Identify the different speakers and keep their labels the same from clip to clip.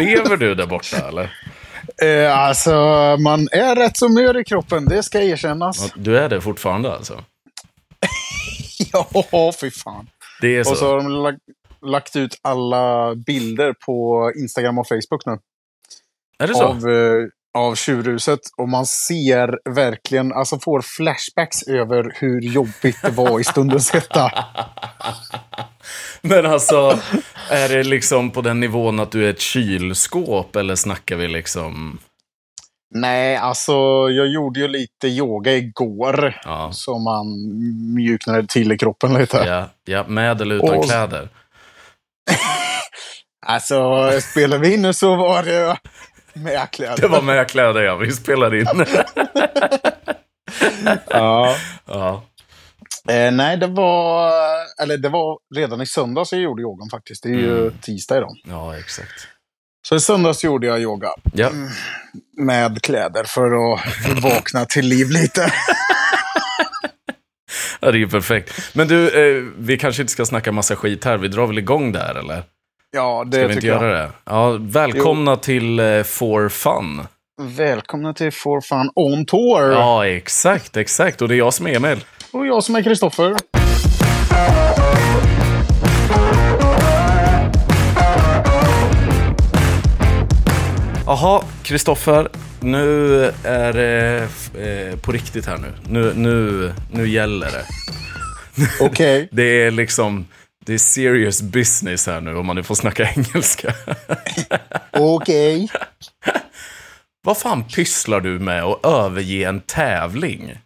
Speaker 1: Lever du där borta eller?
Speaker 2: Eh, alltså, man är rätt så mör i kroppen, det ska erkännas.
Speaker 1: Du är det fortfarande alltså?
Speaker 2: Ja, fy fan.
Speaker 1: Det är så?
Speaker 2: Och så har de lagt, lagt ut alla bilder på Instagram och Facebook nu.
Speaker 1: är det så?
Speaker 2: Av, eh, av tjurhuset. Och man ser verkligen, alltså får flashbacks över hur jobbigt det var i stundens hetta.
Speaker 1: Men alltså, är det liksom på den nivån att du är ett kylskåp eller snackar vi liksom...
Speaker 2: Nej, alltså jag gjorde ju lite yoga igår.
Speaker 1: Ja,
Speaker 2: Så man mjuknade till i kroppen lite.
Speaker 1: ja, ja med eller utan
Speaker 2: Och-
Speaker 1: kläder?
Speaker 2: Alltså, spelar vi in nu så var det med kläder.
Speaker 1: Det var med kläder ja, vi spelar in.
Speaker 2: Ja.
Speaker 1: Ja,
Speaker 2: Eh, nej, det var, eller det var redan i söndags jag gjorde yogan faktiskt. Det är ju
Speaker 1: Mm.
Speaker 2: tisdag idag.
Speaker 1: ja exakt.
Speaker 2: Så i söndags gjorde jag yoga
Speaker 1: Ja,
Speaker 2: med kläder för att vakna till liv lite.
Speaker 1: ja, det är ju perfekt. Men du, eh, vi kanske inte ska snacka massa skit här. Vi drar väl igång där eller?
Speaker 2: Ja, det
Speaker 1: Ska vi inte
Speaker 2: tycker jag.
Speaker 1: göra det? Ja, välkomna till eh, For Fun.
Speaker 2: Välkomna till For Fun On Tour.
Speaker 1: Ja, exakt, exakt. Och det är jag som är Emil.
Speaker 2: Och jag som är Kristoffer.
Speaker 1: Jaha, Kristoffer. Nu är det f- eh, på riktigt här nu. Nu, nu, nu gäller det.
Speaker 2: Okej.
Speaker 1: Det är liksom, det är serious business här nu om man nu får snacka engelska.
Speaker 2: Okej.
Speaker 1: Vad fan pysslar du med att överge en tävling?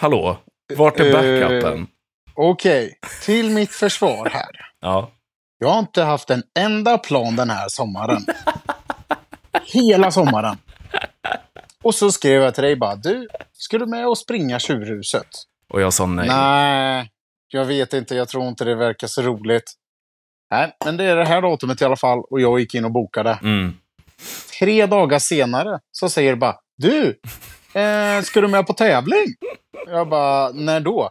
Speaker 1: Hallå, vart är
Speaker 2: Eh,
Speaker 1: backupen?
Speaker 2: Okej. Till mitt försvar här.
Speaker 1: Ja,
Speaker 2: Jag har inte haft en enda plan den här sommaren. Hela sommaren. Och så skrev jag till dig bara, du, ska du med och springa Tjurhuset?
Speaker 1: och jag sa nej.
Speaker 2: Nej, jag vet inte. Jag tror inte det verkar så roligt. Nej, men det är det här datumet i alla fall och jag gick in och bokade.
Speaker 1: Mm.
Speaker 2: Tre dagar senare så säger det bara Du, eh, ska du med på tävling? Jag bara, när då?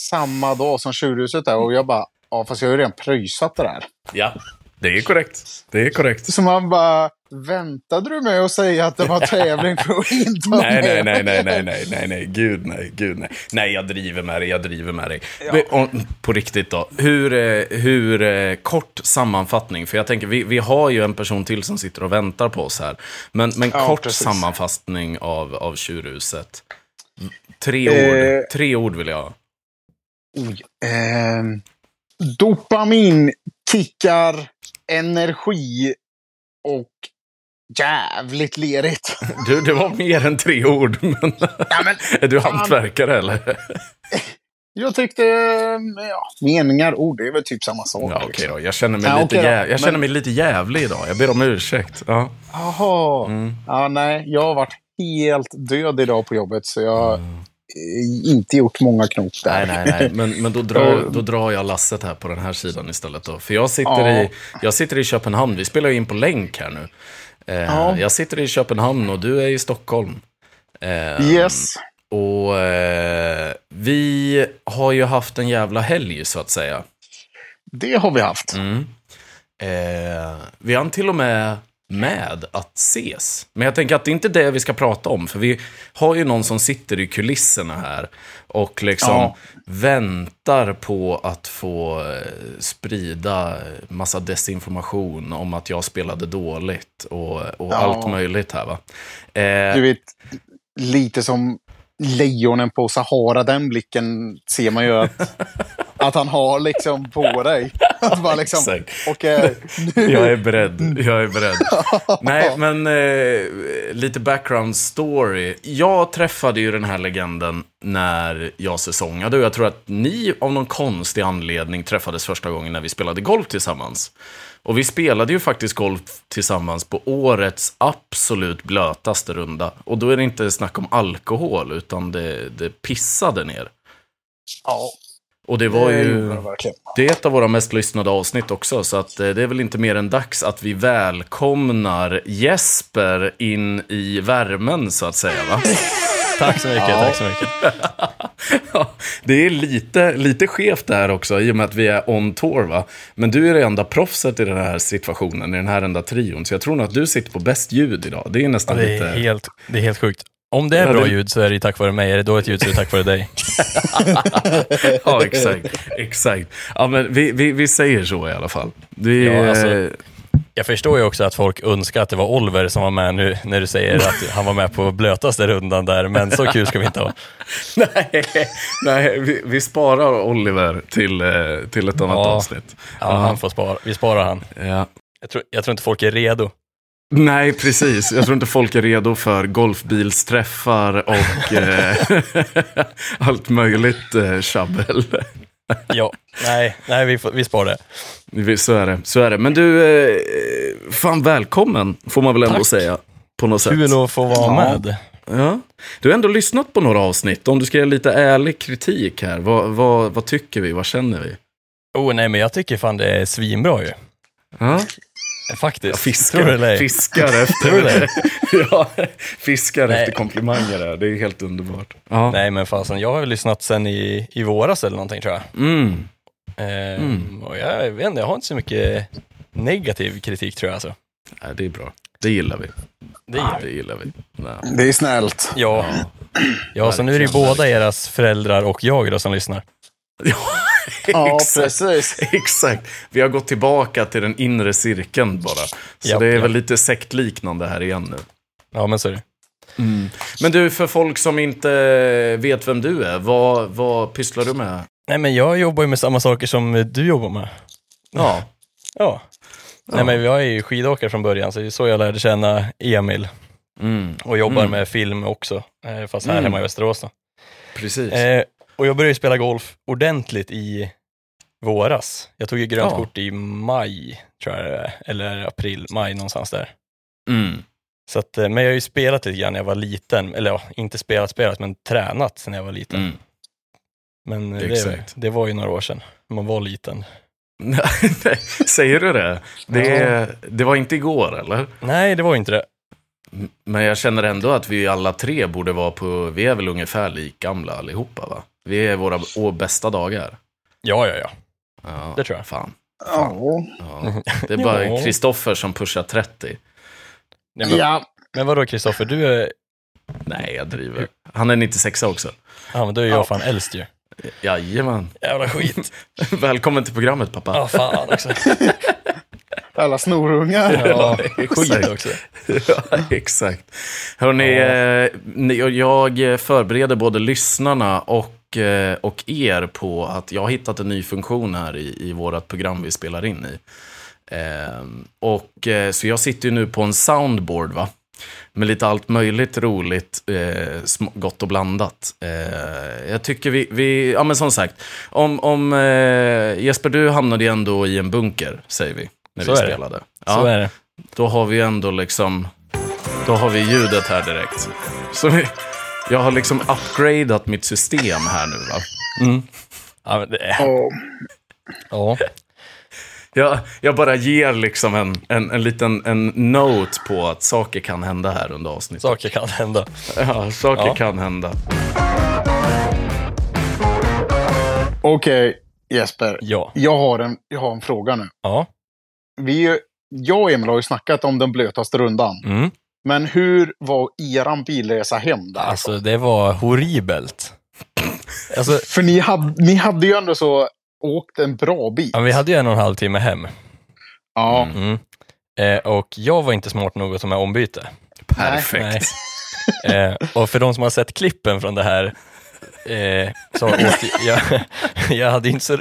Speaker 2: Samma dag som Tjurhuset är och jag bara, ja fast jag har ju redan pröjsat det där.
Speaker 1: Ja, det är korrekt. Det är korrekt.
Speaker 2: Så man bara, väntade du med att säga att det var tävling för att inte vara
Speaker 1: Nej, nej,
Speaker 2: med?
Speaker 1: nej, nej, nej, nej, nej, nej, gud nej, gud nej. Nej, jag driver med dig, jag driver med dig. Men, om- På riktigt då, hur, eh, hur eh, kort sammanfattning, för jag tänker, vi, vi har ju en person till som sitter och väntar på oss här. Men, men
Speaker 2: Ja,
Speaker 1: kort
Speaker 2: precis.
Speaker 1: sammanfattning av, av tjurhuset. Tre
Speaker 2: Eh.
Speaker 1: ord, tre ord vill jag ha.
Speaker 2: Oj. Ehm, dopamin, kickar, energi och jävligt lerigt.
Speaker 1: Du, det var mer än tre ord, men
Speaker 2: ja, men,
Speaker 1: är du
Speaker 2: Fan.
Speaker 1: hantverkare eller?
Speaker 2: jag tyckte ehm, ja, meningar, ord, det är väl typ samma sak.
Speaker 1: Ja, okej då, jag känner mig,
Speaker 2: Ja,
Speaker 1: lite,
Speaker 2: okej då,
Speaker 1: jä- jag känner
Speaker 2: men-
Speaker 1: mig lite jävlig idag, jag ber om ursäkt. Ja.
Speaker 2: Jaha.
Speaker 1: Mm.
Speaker 2: Ja, nej, jag har varit helt död idag på jobbet så jag har eh, inte gjort många knop
Speaker 1: Mm. Nej,
Speaker 2: där.
Speaker 1: nej, nej. Men, men då, drar, då drar jag lasset här på den här sidan istället. Då. För jag sitter,
Speaker 2: Ja.
Speaker 1: i, jag sitter i Köpenhamn. Vi spelar ju in på länk här nu. Eh,
Speaker 2: Ja.
Speaker 1: Jag sitter i Köpenhamn och du är i Stockholm. Eh,
Speaker 2: Yes.
Speaker 1: Och eh, vi har ju haft en jävla helg, så att säga.
Speaker 2: Det har vi haft.
Speaker 1: Mm. Eh, vi hann till och med med att ses. Men jag tänker att det är inte det vi ska prata om, för vi har ju någon som sitter i kulisserna här och liksom
Speaker 2: Ja.
Speaker 1: väntar på att få eh, sprida massa desinformation om att jag spelade dåligt och, och
Speaker 2: Ja.
Speaker 1: allt möjligt här va. Eh,
Speaker 2: Du vet, lite som lejonen på Sahara, den blicken ser man ju att, att han har liksom på dig. Att bara liksom,
Speaker 1: exakt.
Speaker 2: okej, nu... Mm.
Speaker 1: Jag är beredd. Jag är beredd. Nej, men eh, lite background story. Jag träffade ju den här legenden när jag säsongade. Och jag tror att ni av någon konstig anledning träffades första gången när vi spelade golf tillsammans. Och vi spelade ju faktiskt golf tillsammans på årets absolut blötaste runda. Och då är det inte snack om alkohol, utan det, det pissade ner.
Speaker 2: Ja,
Speaker 1: Och det var
Speaker 2: det
Speaker 1: ju...
Speaker 2: gjorde han verkligen.
Speaker 1: Det är ett av våra mest lyssnade avsnitt också, så att eh, det är väl inte mer än dags att vi välkomnar Jesper in i värmen, så att säga. Va?
Speaker 3: Tack så mycket, tack så mycket.
Speaker 1: Ja, det är lite, lite skevt det här också, i och med att vi är on tour va. Men du är det enda proffset i den här situationen, i den här enda trion. Så jag tror nog att du sitter på bäst ljud idag. Det är nästan
Speaker 3: Det
Speaker 1: lite...
Speaker 3: är helt, det är helt sjukt. Om det är
Speaker 1: Ja,
Speaker 3: bra
Speaker 1: det-
Speaker 3: ljud så är det ju tack vare mig. Är det dåligt ljud så är det tack vare dig.
Speaker 1: Ja, exakt. exakt. Ja, men vi, vi, vi säger så i alla fall. Det är,
Speaker 3: Ja, alltså- Jag förstår ju också att folk önskar att det var Oliver som var med nu när du säger att han var med på blötaste rundan där, men så kul ska vi inte ha.
Speaker 1: nej, nej vi, vi sparar Oliver till, eh, till ett annat
Speaker 3: Ja.
Speaker 1: avsnitt.
Speaker 3: Ja, han får spara. Vi sparar han.
Speaker 1: Ja.
Speaker 3: Jag tror, jag tror inte folk är redo.
Speaker 1: Nej, precis. Jag tror inte folk är redo för golfbilsträffar och eh, allt möjligt eh, tjabbel.
Speaker 3: Ja, nej, nej vi, får, vi sparar det.
Speaker 1: Vi- Så är det. Så är det. Men du, eh, fan välkommen får man väl ändå
Speaker 3: Tack.
Speaker 1: säga. På något sätt.
Speaker 3: Kul att få vara med.
Speaker 1: Ja. Du har ändå lyssnat på några avsnitt. Om du ska ge lite ärlig kritik här, vad, vad, vad tycker vi? Vad känner vi?
Speaker 3: Oh, nej, men jag tycker fan det är svinbra ju.
Speaker 1: Ja,
Speaker 3: Faktiskt. Tror du eller
Speaker 1: fiskar,
Speaker 3: ej?
Speaker 1: fiskar
Speaker 3: Tror du det?
Speaker 1: efter, ja, fiskar
Speaker 3: Nej.
Speaker 1: efter komplimanger. Där. Det är helt underbart. Ja.
Speaker 3: Nej, men fasen, jag har ju lyssnat sen i, i våras eller någonting tror jag.
Speaker 1: Mm.
Speaker 3: Ehm, och jag, vet inte, jag har inte så mycket negativ kritik tror jag alltså.
Speaker 1: Nej, det är bra. Det gillar vi.
Speaker 3: Det gör
Speaker 1: Det gillar vi. Nej.
Speaker 2: Det är snällt.
Speaker 3: Ja. Ja, så nu är det ju båda eras föräldrar och jag då som lyssnar.
Speaker 2: Ja,
Speaker 1: Exakt.
Speaker 2: precis.
Speaker 1: Exakt. Vi har gått tillbaka till den inre cirkeln bara. Så
Speaker 3: Japp,
Speaker 1: det är
Speaker 3: japp.
Speaker 1: väl lite sektliknande här igen nu.
Speaker 3: Ja, men så är det.
Speaker 1: Men du, för folk som inte vet vem du är, vad, vad pysslar du med?
Speaker 3: Nej, men jag jobbar ju med samma saker som du jobbar med.
Speaker 1: Ja,
Speaker 3: Ja. Nej, men jag är ju skidåkare från början, så det är så jag lärde känna Emil.
Speaker 1: Mm.
Speaker 3: Och jobbar med film också, eh, fast här
Speaker 1: Mm.
Speaker 3: hemma i Västerås då.
Speaker 1: precis.
Speaker 3: Eh, och jag började ju spela golf ordentligt i våras. Jag tog ju grönt
Speaker 1: Ja.
Speaker 3: kort i maj, tror jag det är, eller april, maj någonstans där.
Speaker 1: Mm.
Speaker 3: Så att, eh, men jag har ju spelat lite grann när jag var liten, eller ja, inte spelat spelat, men tränat sen jag var liten.
Speaker 1: Mm.
Speaker 3: Men eh, det,
Speaker 1: Exakt.
Speaker 3: det var ju några år sedan, när man var liten.
Speaker 1: Nej, Säger du det? Det, det var inte igår, eller?
Speaker 3: Nej, det var ju inte det.
Speaker 1: Men jag känner ändå att vi alla tre borde vara på... Vi är väl ungefär lika gamla allihopa, va? Vi är våra å- bästa dagar.
Speaker 3: Ja, ja, ja.
Speaker 1: Ja,
Speaker 3: Det tror jag.
Speaker 1: Fan.
Speaker 2: Ja.
Speaker 1: Ja. Det är bara
Speaker 3: Ja.
Speaker 1: Kristoffer som pushar 30.
Speaker 3: Nej, men,
Speaker 2: ja.
Speaker 3: men vadå Kristoffer, du är,
Speaker 1: Nej, jag driver. Han är 96 också.
Speaker 3: ja, men då är jag fan äldst ju.
Speaker 1: Jajamän.
Speaker 3: Jävla skit.
Speaker 1: Välkommen till programmet, pappa.
Speaker 3: Ja, fan också.
Speaker 2: Alla snorungar.
Speaker 3: Ja,
Speaker 1: exakt.
Speaker 3: skit också.
Speaker 1: Ja, exakt. Hörrni, eh, ni- och jag förbereder både lyssnarna och, eh, och er på att jag har hittat en ny funktion här i, i vårt program vi spelar in i. Ehm, och, eh, så jag sitter ju nu på en soundboard, va? Med lite allt möjligt roligt, eh, sm- gott och blandat. Eh, jag tycker vi, vi, ja men som sagt, om, om eh, Jesper du hamnade ju ändå i en bunker, säger vi, när
Speaker 3: Så
Speaker 1: vi
Speaker 3: är det.
Speaker 1: spelade.
Speaker 3: Så är det.
Speaker 1: Då har vi ändå liksom... Då har vi ljudet här direkt. Så vi, jag har liksom upgradat mitt system här nu va.
Speaker 3: Ja, men det
Speaker 2: Ja.
Speaker 3: ja.
Speaker 1: Jag, jag bara ger liksom en, en, en liten en note på att saker kan hända här under avsnittet.
Speaker 3: saker kan hända.
Speaker 1: Ja, saker
Speaker 3: Ja.
Speaker 1: kan hända.
Speaker 2: Okej, Jesper.
Speaker 3: Ja.
Speaker 2: Jag har, en, jag har en fråga nu.
Speaker 3: Ja.
Speaker 2: Vi, är- jag och Emil har ju snackat om den blötaste rundan.
Speaker 3: Mm.
Speaker 2: Men hur var eran bilresa hem där?
Speaker 3: Alltså, det var horribelt. Alltså,
Speaker 2: För ni hade, ni hade ju ändå så åkt en bra bit.
Speaker 3: ja, vi hade ju en och en halv timme hem.
Speaker 2: Ja.
Speaker 1: Mm.
Speaker 3: Mm. Eh, och jag var inte smart nog att ta med ombyte.
Speaker 1: Perfekt.
Speaker 3: Eh, och för de som har sett klippen från det här, eh, så åkte, jag, jag hade inte så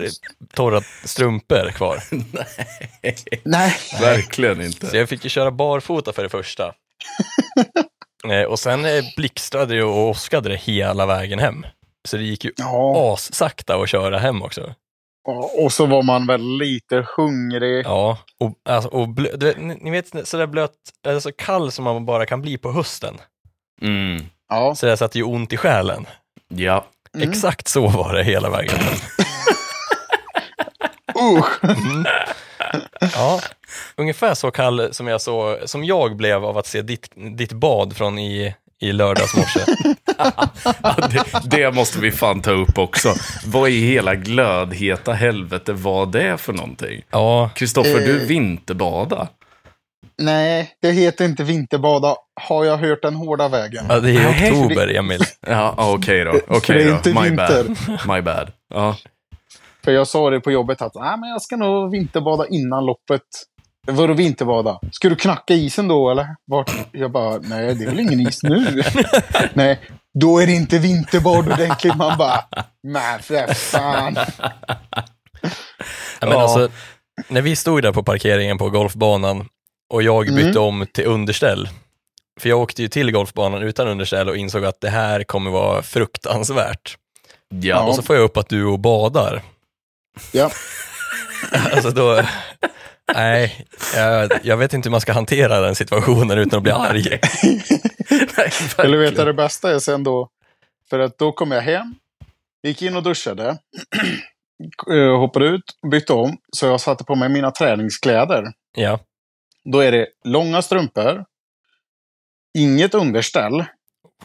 Speaker 3: torra strumpor kvar.
Speaker 2: Nej.
Speaker 1: Verkligen
Speaker 3: Så
Speaker 1: inte.
Speaker 3: jag fick ju köra barfota för det första. Eh, och sen eh, blixtrade det och åskade det hela vägen hem. Så det gick ju
Speaker 2: Ja.
Speaker 3: assakta att köra hem också.
Speaker 2: Och så var man väl lite hungrig.
Speaker 3: Ja, och, alltså, och blö, du vet, ni ni vet sådär blöt, eller så kall som man bara kan bli på hösten.
Speaker 1: Mm.
Speaker 2: Ja.
Speaker 3: Så det satte ju ont i själen.
Speaker 1: Ja.
Speaker 2: Mm.
Speaker 3: Exakt så var det hela vägen hem.
Speaker 2: Usch.
Speaker 3: Ja, ungefär så kall som jag, så, som jag blev av att se ditt, ditt bad från i, i lördags morse.
Speaker 1: Ja, det, det måste vi fan ta upp också. Vad i hela glödheta helvete var det för någonting?
Speaker 3: Ja,
Speaker 1: Kristoffer,
Speaker 2: Eh.
Speaker 1: du vinterbada.
Speaker 2: Nej, det heter inte vinterbada, har jag hört den hårda vägen.
Speaker 3: ja, det är
Speaker 1: Nej,
Speaker 3: i oktober, Emil.
Speaker 1: Ja, ah, okej då.
Speaker 2: För det
Speaker 1: Okej
Speaker 2: är
Speaker 1: då.
Speaker 2: inte
Speaker 1: My
Speaker 2: vinter.
Speaker 1: bad. My bad. Ja.
Speaker 2: För jag sa det på jobbet att Nej, men jag ska nog vinterbada innan loppet. Vadå vinterbada? Ska du knacka isen då eller? Vart? Jag bara, nej det är väl ingen is nu. nej, då är det inte vinterbad ordentligt. Man bara, nej för fan.
Speaker 3: Ja, men
Speaker 1: Ja.
Speaker 3: alltså, när vi stod där på parkeringen på golfbanan och jag bytte om till underställ, för jag åkte ju till golfbanan utan underställ och insåg att det här kommer vara fruktansvärt.
Speaker 1: Ja.
Speaker 3: Och så får jag upp att du och badar.
Speaker 2: Ja.
Speaker 3: Alltså då, nej, jag, jag vet inte hur man ska hantera den situationen utan att bli arg.
Speaker 1: Nej,
Speaker 2: Eller vet du
Speaker 1: verkligen.
Speaker 2: det bästa är sen då? För att då kom jag hem, gick in och duschade, eh, hoppade ut, bytte om. Så jag satte på mig mina träningskläder.
Speaker 3: Ja,
Speaker 2: Då är det långa strumpor, inget underställ,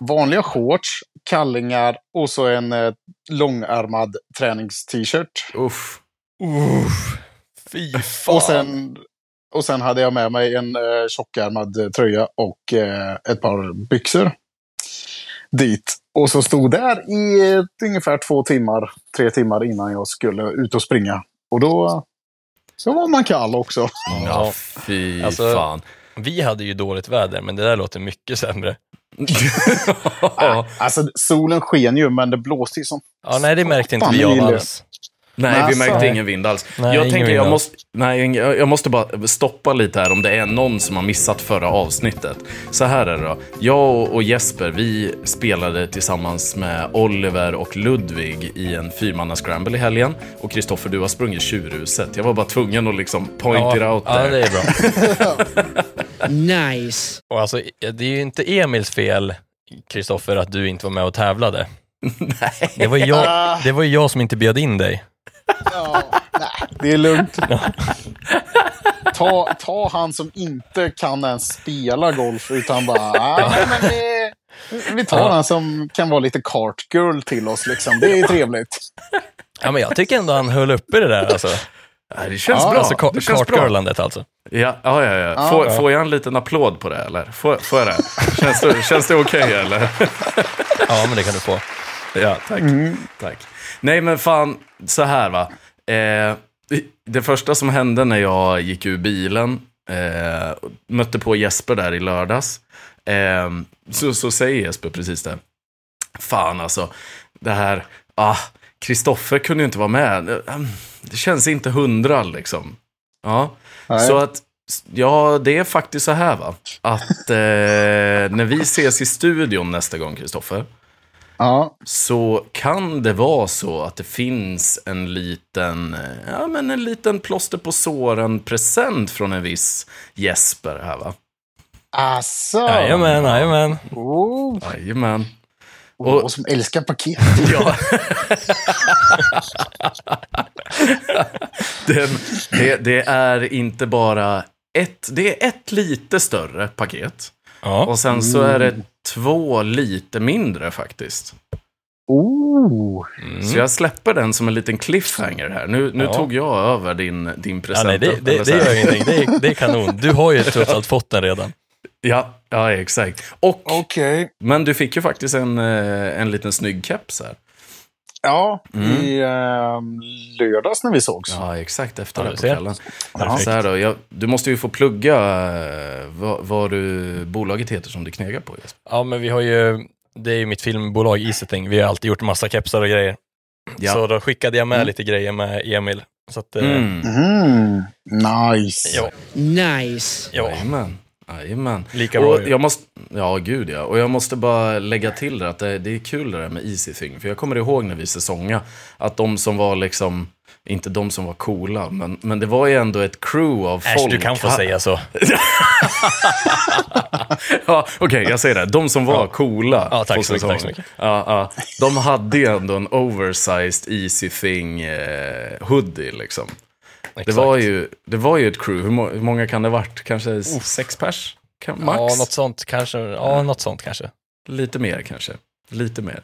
Speaker 2: vanliga shorts, kallingar och så en eh, långärmad träningst-shirt.
Speaker 1: Uff.
Speaker 3: Uff, fy fan.
Speaker 2: Och sen, och sen hade jag med mig en eh, tjockärmad eh, tröja och eh, ett par byxor dit. Och så stod där i eh, ungefär två timmar, tre timmar innan jag skulle ut och springa. Och då så var man kall också.
Speaker 1: Ja, fy
Speaker 3: Alltså-
Speaker 1: fan.
Speaker 3: Vi hade ju dåligt väder, men det där låter mycket sämre.
Speaker 1: ja.
Speaker 2: Alltså solen sken ju, men det blåste ju som
Speaker 3: Ja, nej, det märkte inte
Speaker 2: Fan,
Speaker 3: vi av
Speaker 2: Emilio.
Speaker 3: alls.
Speaker 1: Nej, vi
Speaker 2: Massa.
Speaker 1: märkte ingen vind alls.
Speaker 3: Alltså- Nej,
Speaker 1: jag
Speaker 3: ingen
Speaker 1: tänker,
Speaker 3: vind
Speaker 1: jag
Speaker 3: alls.
Speaker 1: måste, nej, ingen- jag jag måste bara stoppa lite här om det är någon som har missat förra avsnittet. Så här är det då. Jag och- och Jesper, vi spelade tillsammans med Oliver och Ludvig i en fyrmanna-scramble i helgen. Och Kristoffer, du har sprungit Tjurhuset. Jag var bara tvungen att liksom point it
Speaker 3: Ja,
Speaker 1: out
Speaker 3: ja,
Speaker 1: där.
Speaker 3: det är bra.
Speaker 4: Nice.
Speaker 3: Och alltså, det är ju inte Emils fel, Kristoffer, att du inte var med och tävlade. Nej. Det var ju jag, det var ju jag som inte bjöd in dig.
Speaker 2: Ja, nej, det är lugnt. Ta, ta han som inte kan ens spela golf, utan bara... "Ah, men vi, vi tar
Speaker 3: Ja.
Speaker 2: han som kan vara lite kartgirl till oss, liksom. Det är trevligt.
Speaker 3: Ja, men jag tycker ändå han höll uppe det där alltså.
Speaker 1: Nej, det känns
Speaker 2: Ja,
Speaker 1: bra.
Speaker 3: alltså ka-
Speaker 1: det känns bra.
Speaker 3: kartgirlandet alltså.
Speaker 1: Ja, ja, ja, ja. Får, får jag en liten applåd på det eller? Får, får jag det? Känns det, känns det okej eller?
Speaker 3: Ja, men det kan du få.
Speaker 1: Ja, tack. tack. Nej, men fan, så här va. Eh, det första som hände när jag gick ur bilen, eh, mötte på Jesper där i lördags, eh, så, så säger Jesper precis det. Fan alltså, det här, ah, Kristoffer kunde ju inte vara med. Eh, Det känns inte hundra liksom. Ja,
Speaker 2: Nej.
Speaker 1: så att, ja, det är faktiskt så här va. Att eh, när vi ses i studion nästa gång, Kristoffer,
Speaker 2: Ja,
Speaker 1: så kan det vara så att det finns en liten, eh, ja men en liten plåster på såren present från en viss Jesper här va?
Speaker 2: alltså.
Speaker 3: Jajamän, jajamän.
Speaker 2: Oh,
Speaker 1: Jajamän.
Speaker 2: och, som älskar paket.
Speaker 1: Ja. det, det, det är inte bara ett, det är ett lite större paket.
Speaker 3: Ja,
Speaker 1: Och sen så är det två lite mindre faktiskt.
Speaker 2: Oh.
Speaker 1: Så jag släpper den som en liten cliffhanger här. Nu, nu
Speaker 3: Mm. Ja.
Speaker 1: tog jag över din, din
Speaker 3: ja
Speaker 1: present.
Speaker 3: nej, det,
Speaker 1: upp, eller
Speaker 3: det, det
Speaker 1: så här.
Speaker 3: gör ingenting. Det är, det är kanon. Du har ju trots allt fått den redan.
Speaker 1: Ja, ja exakt. Och,
Speaker 2: Okej.
Speaker 1: Men du fick ju faktiskt en, eh, en liten snygg keps här.
Speaker 2: Ja,
Speaker 3: Mm.
Speaker 2: i eh, lördags när vi sågs.
Speaker 1: Ja, exakt. Efter det
Speaker 3: Ja, du
Speaker 1: på
Speaker 3: ser.
Speaker 1: kvällen.
Speaker 3: Perfekt.
Speaker 1: Så här då, jag, du måste ju få plugga eh, vad, vad du, bolaget heter som du knegar på. Jesper.
Speaker 3: Ja, men vi har ju, det är ju mitt filmbolag Easything, vi har alltid gjort massa kepsar och grejer.
Speaker 1: Ja.
Speaker 3: Så då skickade jag med lite grejer med Emil. Så att, eh,
Speaker 1: Mm.
Speaker 2: Mm. Nice.
Speaker 3: ja,
Speaker 4: Nice.
Speaker 3: ja,
Speaker 1: Jajamän. Jajamän.
Speaker 3: lika bra
Speaker 1: Och
Speaker 3: ju.
Speaker 1: jag måste, ja, gud ja. Och jag måste bara lägga till det att det, det är kul det där med Easy Thing. För jag kommer ihåg när vi säsonga att de som var liksom, inte de som var coola, men, men det var ju ändå ett crew av
Speaker 3: Äsch,
Speaker 1: folk.
Speaker 3: du kan få
Speaker 1: här.
Speaker 3: säga så.
Speaker 1: Ja, okej, jag säger det. De som var coola
Speaker 3: Ja, tack
Speaker 1: på
Speaker 3: så mycket,
Speaker 1: säsongen,
Speaker 3: tack så mycket.
Speaker 1: Ja, ja, de hade ju ändå en oversized easy thing eh, hoodie. Liksom. Det,
Speaker 3: Exakt.
Speaker 1: var ju, det var ju ett crew. Hur, må- hur
Speaker 3: Oh,
Speaker 1: många kan det ha varit? Kanske s- sex pers? Kan, max?
Speaker 3: Ja, något sånt kanske. Ja, något sånt kanske.
Speaker 1: Lite mer kanske. Lite mer.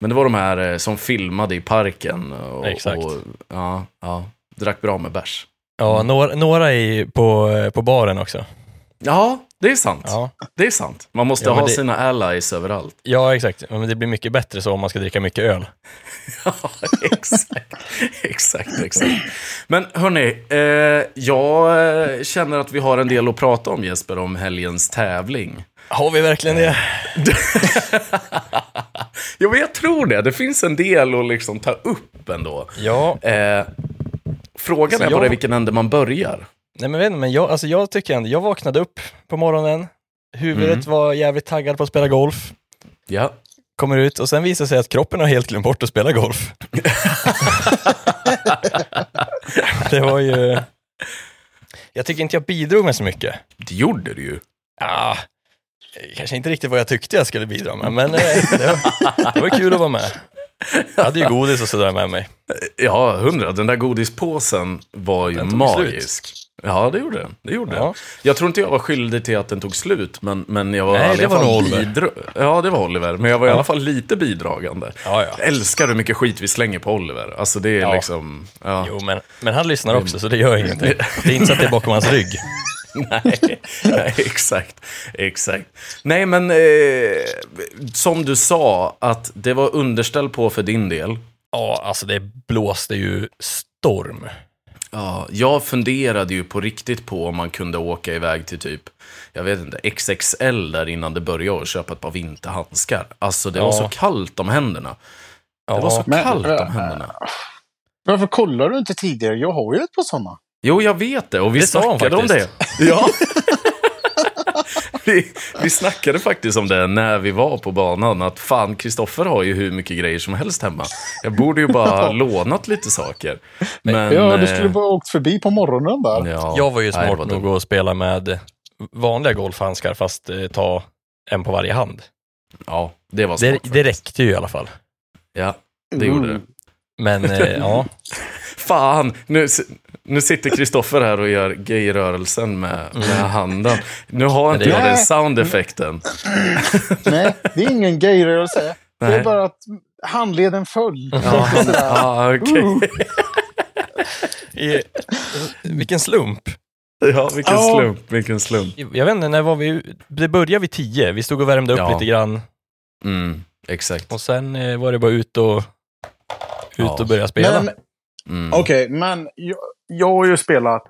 Speaker 1: Men det var de här eh, som filmade i parken. Och,
Speaker 3: Exakt.
Speaker 1: Och, ja, ja, drack bra med bärs.
Speaker 3: Ja, några, några i, på, eh, på baren också.
Speaker 1: Ja, det är sant.
Speaker 3: Ja.
Speaker 1: Det är sant. Man måste
Speaker 3: Ja, men
Speaker 1: ha
Speaker 3: det-
Speaker 1: sina allies överallt.
Speaker 3: ja, exakt. Men det blir mycket bättre så om man ska dricka mycket öl.
Speaker 1: Ja, exakt. exakt, exakt. Men hörni, eh, jag eh, känner att vi har en del att prata om Jesper, om helgens tävling.
Speaker 3: Har vi verkligen det?
Speaker 1: Jo, men jag tror det. Det finns en del att liksom ta upp ändå.
Speaker 3: Ja,
Speaker 1: Eh, frågan
Speaker 3: Så
Speaker 1: är bara
Speaker 3: jag-
Speaker 1: i vilken ände man börjar.
Speaker 3: nej men, vet inte, men jag, alltså jag tycker ändå, jag vaknade upp på morgonen, huvudet
Speaker 1: Mm.
Speaker 3: var jävligt taggad på att spela golf,
Speaker 1: Ja.
Speaker 3: kommer ut och sen visar det sig att kroppen har helt glömt bort att spela golf. det var ju... Jag tycker inte jag bidrog med så mycket.
Speaker 1: Det gjorde du ju.
Speaker 3: Ah, kanske inte riktigt vad jag tyckte jag skulle bidra med, men eh, det var, det var kul att vara med. Jag hade ju godis och sådär med mig.
Speaker 1: Ja, hundra. Den där godispåsen var ju
Speaker 3: Den tog
Speaker 1: magisk. Ja, det gjorde den. Det gjorde
Speaker 3: Ja.
Speaker 1: den. Jag tror inte jag var skyldig till att den tog slut, men, men jag var
Speaker 3: Nej,
Speaker 1: i alla
Speaker 3: det var
Speaker 1: fall
Speaker 3: nog Oliver.
Speaker 1: bidra- Ja, det var Oliver. Men jag var i alla fall lite bidragande.
Speaker 3: Ja, ja.
Speaker 1: Jag älskar hur mycket skit vi slänger på Oliver. Alltså det är
Speaker 3: Ja.
Speaker 1: liksom... Ja.
Speaker 3: Jo, men, men han lyssnar också, så det gör ingenting. Det är inte så att det är bakom hans rygg.
Speaker 1: Nej, nej, exakt. Exakt. Nej, men eh, som du sa, att det var underställ på för din del.
Speaker 3: Ja, alltså det blåste ju storm.
Speaker 1: Ja, jag funderade ju på riktigt på om man kunde åka iväg till typ, jag vet inte, XXL där innan det började och köpa ett par vinterhandskar. Alltså det var
Speaker 3: Ja.
Speaker 1: så kallt om händerna.
Speaker 3: Ja,
Speaker 1: Det var så
Speaker 2: Men-
Speaker 1: kallt om händerna.
Speaker 2: Varför kollar du inte tidigare? Jag har ju ett par sådana.
Speaker 1: Jo, jag vet det. Och vi
Speaker 3: Det sa hon
Speaker 1: snackade om det.
Speaker 3: faktiskt.
Speaker 1: Ja. vi, vi snackade faktiskt om det när vi var på banan. Att fan, Kristoffer har ju hur mycket grejer som helst hemma. Jag borde ju bara ha lånat lite saker. Men,
Speaker 2: ja, du skulle
Speaker 1: eh,
Speaker 2: bara ha åkt förbi på morgonen där.
Speaker 1: ja,
Speaker 3: jag var ju
Speaker 1: nej, det
Speaker 3: smart
Speaker 1: var
Speaker 3: nog att spela med vanliga golfhandskar, fast eh, ta en på varje hand.
Speaker 1: Ja, det var
Speaker 3: Det,
Speaker 1: smart.
Speaker 3: det räckte ju i alla fall.
Speaker 1: Ja, det gjorde det.
Speaker 3: Men eh, ja,
Speaker 1: Fan, nu, s- nu sitter Kristoffer här och gör gayrörelsen med,
Speaker 2: Mm.
Speaker 1: med handen. Nu har inte
Speaker 3: det-
Speaker 1: jag den soundeffekten.
Speaker 2: Nej, det är ingen gayrörelse. Det
Speaker 1: Nej.
Speaker 2: är bara att handleden föll.
Speaker 1: Ja, ja okej.
Speaker 3: i, vilken slump.
Speaker 1: Ja, vilken
Speaker 2: Ja.
Speaker 1: slump, vilken slump.
Speaker 3: Jag vet inte, när var vi u- Det började vid tio, vi stod och värmde upp
Speaker 1: Ja.
Speaker 3: lite grann
Speaker 1: Mm, exakt.
Speaker 3: och sen eh, var det bara ut och, ut
Speaker 1: Ja.
Speaker 3: och börja spela.
Speaker 2: Men
Speaker 1: Mm.
Speaker 2: okej, men jag, jag har ju spelat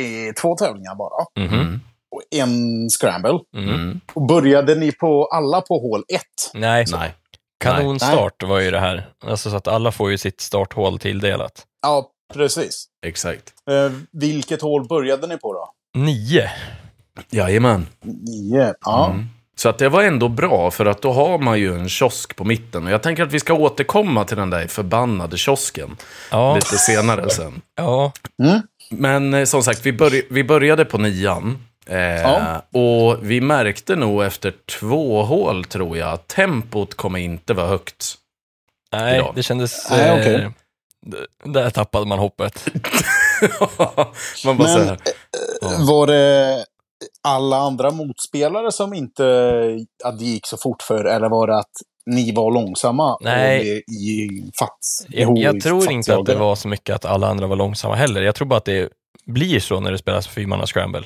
Speaker 2: i två tävlingar bara.
Speaker 3: Mhm.
Speaker 1: Mm.
Speaker 2: Och en scramble.
Speaker 3: Mm.
Speaker 1: Mm.
Speaker 2: Och började ni på alla på hål ett?
Speaker 3: Nej, så
Speaker 1: Nej.
Speaker 3: kanonstart var ju det här. Alltså så att alla får ju sitt starthål tilldelat.
Speaker 2: Ja, precis.
Speaker 1: Exakt.
Speaker 2: Eh, vilket hål började ni på då?
Speaker 3: Nio.
Speaker 1: Jajamän.
Speaker 2: Nio. Ja.
Speaker 1: Mm. Så att det var ändå bra, för att då har man ju en kiosk på mitten. Och jag tänker att vi ska återkomma till den där förbannade kiosken
Speaker 3: Ja,
Speaker 1: lite senare sen.
Speaker 3: ja.
Speaker 1: Men eh, som sagt, vi, börj- vi började på nian. Eh,
Speaker 2: Ja.
Speaker 1: Och vi märkte nog efter två hål, tror jag, att tempot kommer inte vara högt.
Speaker 3: Nej,
Speaker 1: Idag.
Speaker 3: det kändes...
Speaker 2: Nej,
Speaker 3: eh,
Speaker 2: okej.
Speaker 3: d- där tappade man hoppet.
Speaker 1: man bara
Speaker 2: Men
Speaker 1: så här, Ja.
Speaker 2: eh, var det alla andra motspelare som inte att det gick så fort för? Eller var det att ni var långsamma?
Speaker 3: Nej.
Speaker 2: Och det i fats,
Speaker 3: Jag,
Speaker 2: ihop-
Speaker 3: jag tror inte att det
Speaker 2: fatsjagare?
Speaker 3: var så mycket att alla andra var långsamma heller. Jag tror bara att det blir så när det spelas fyrmanna scramble.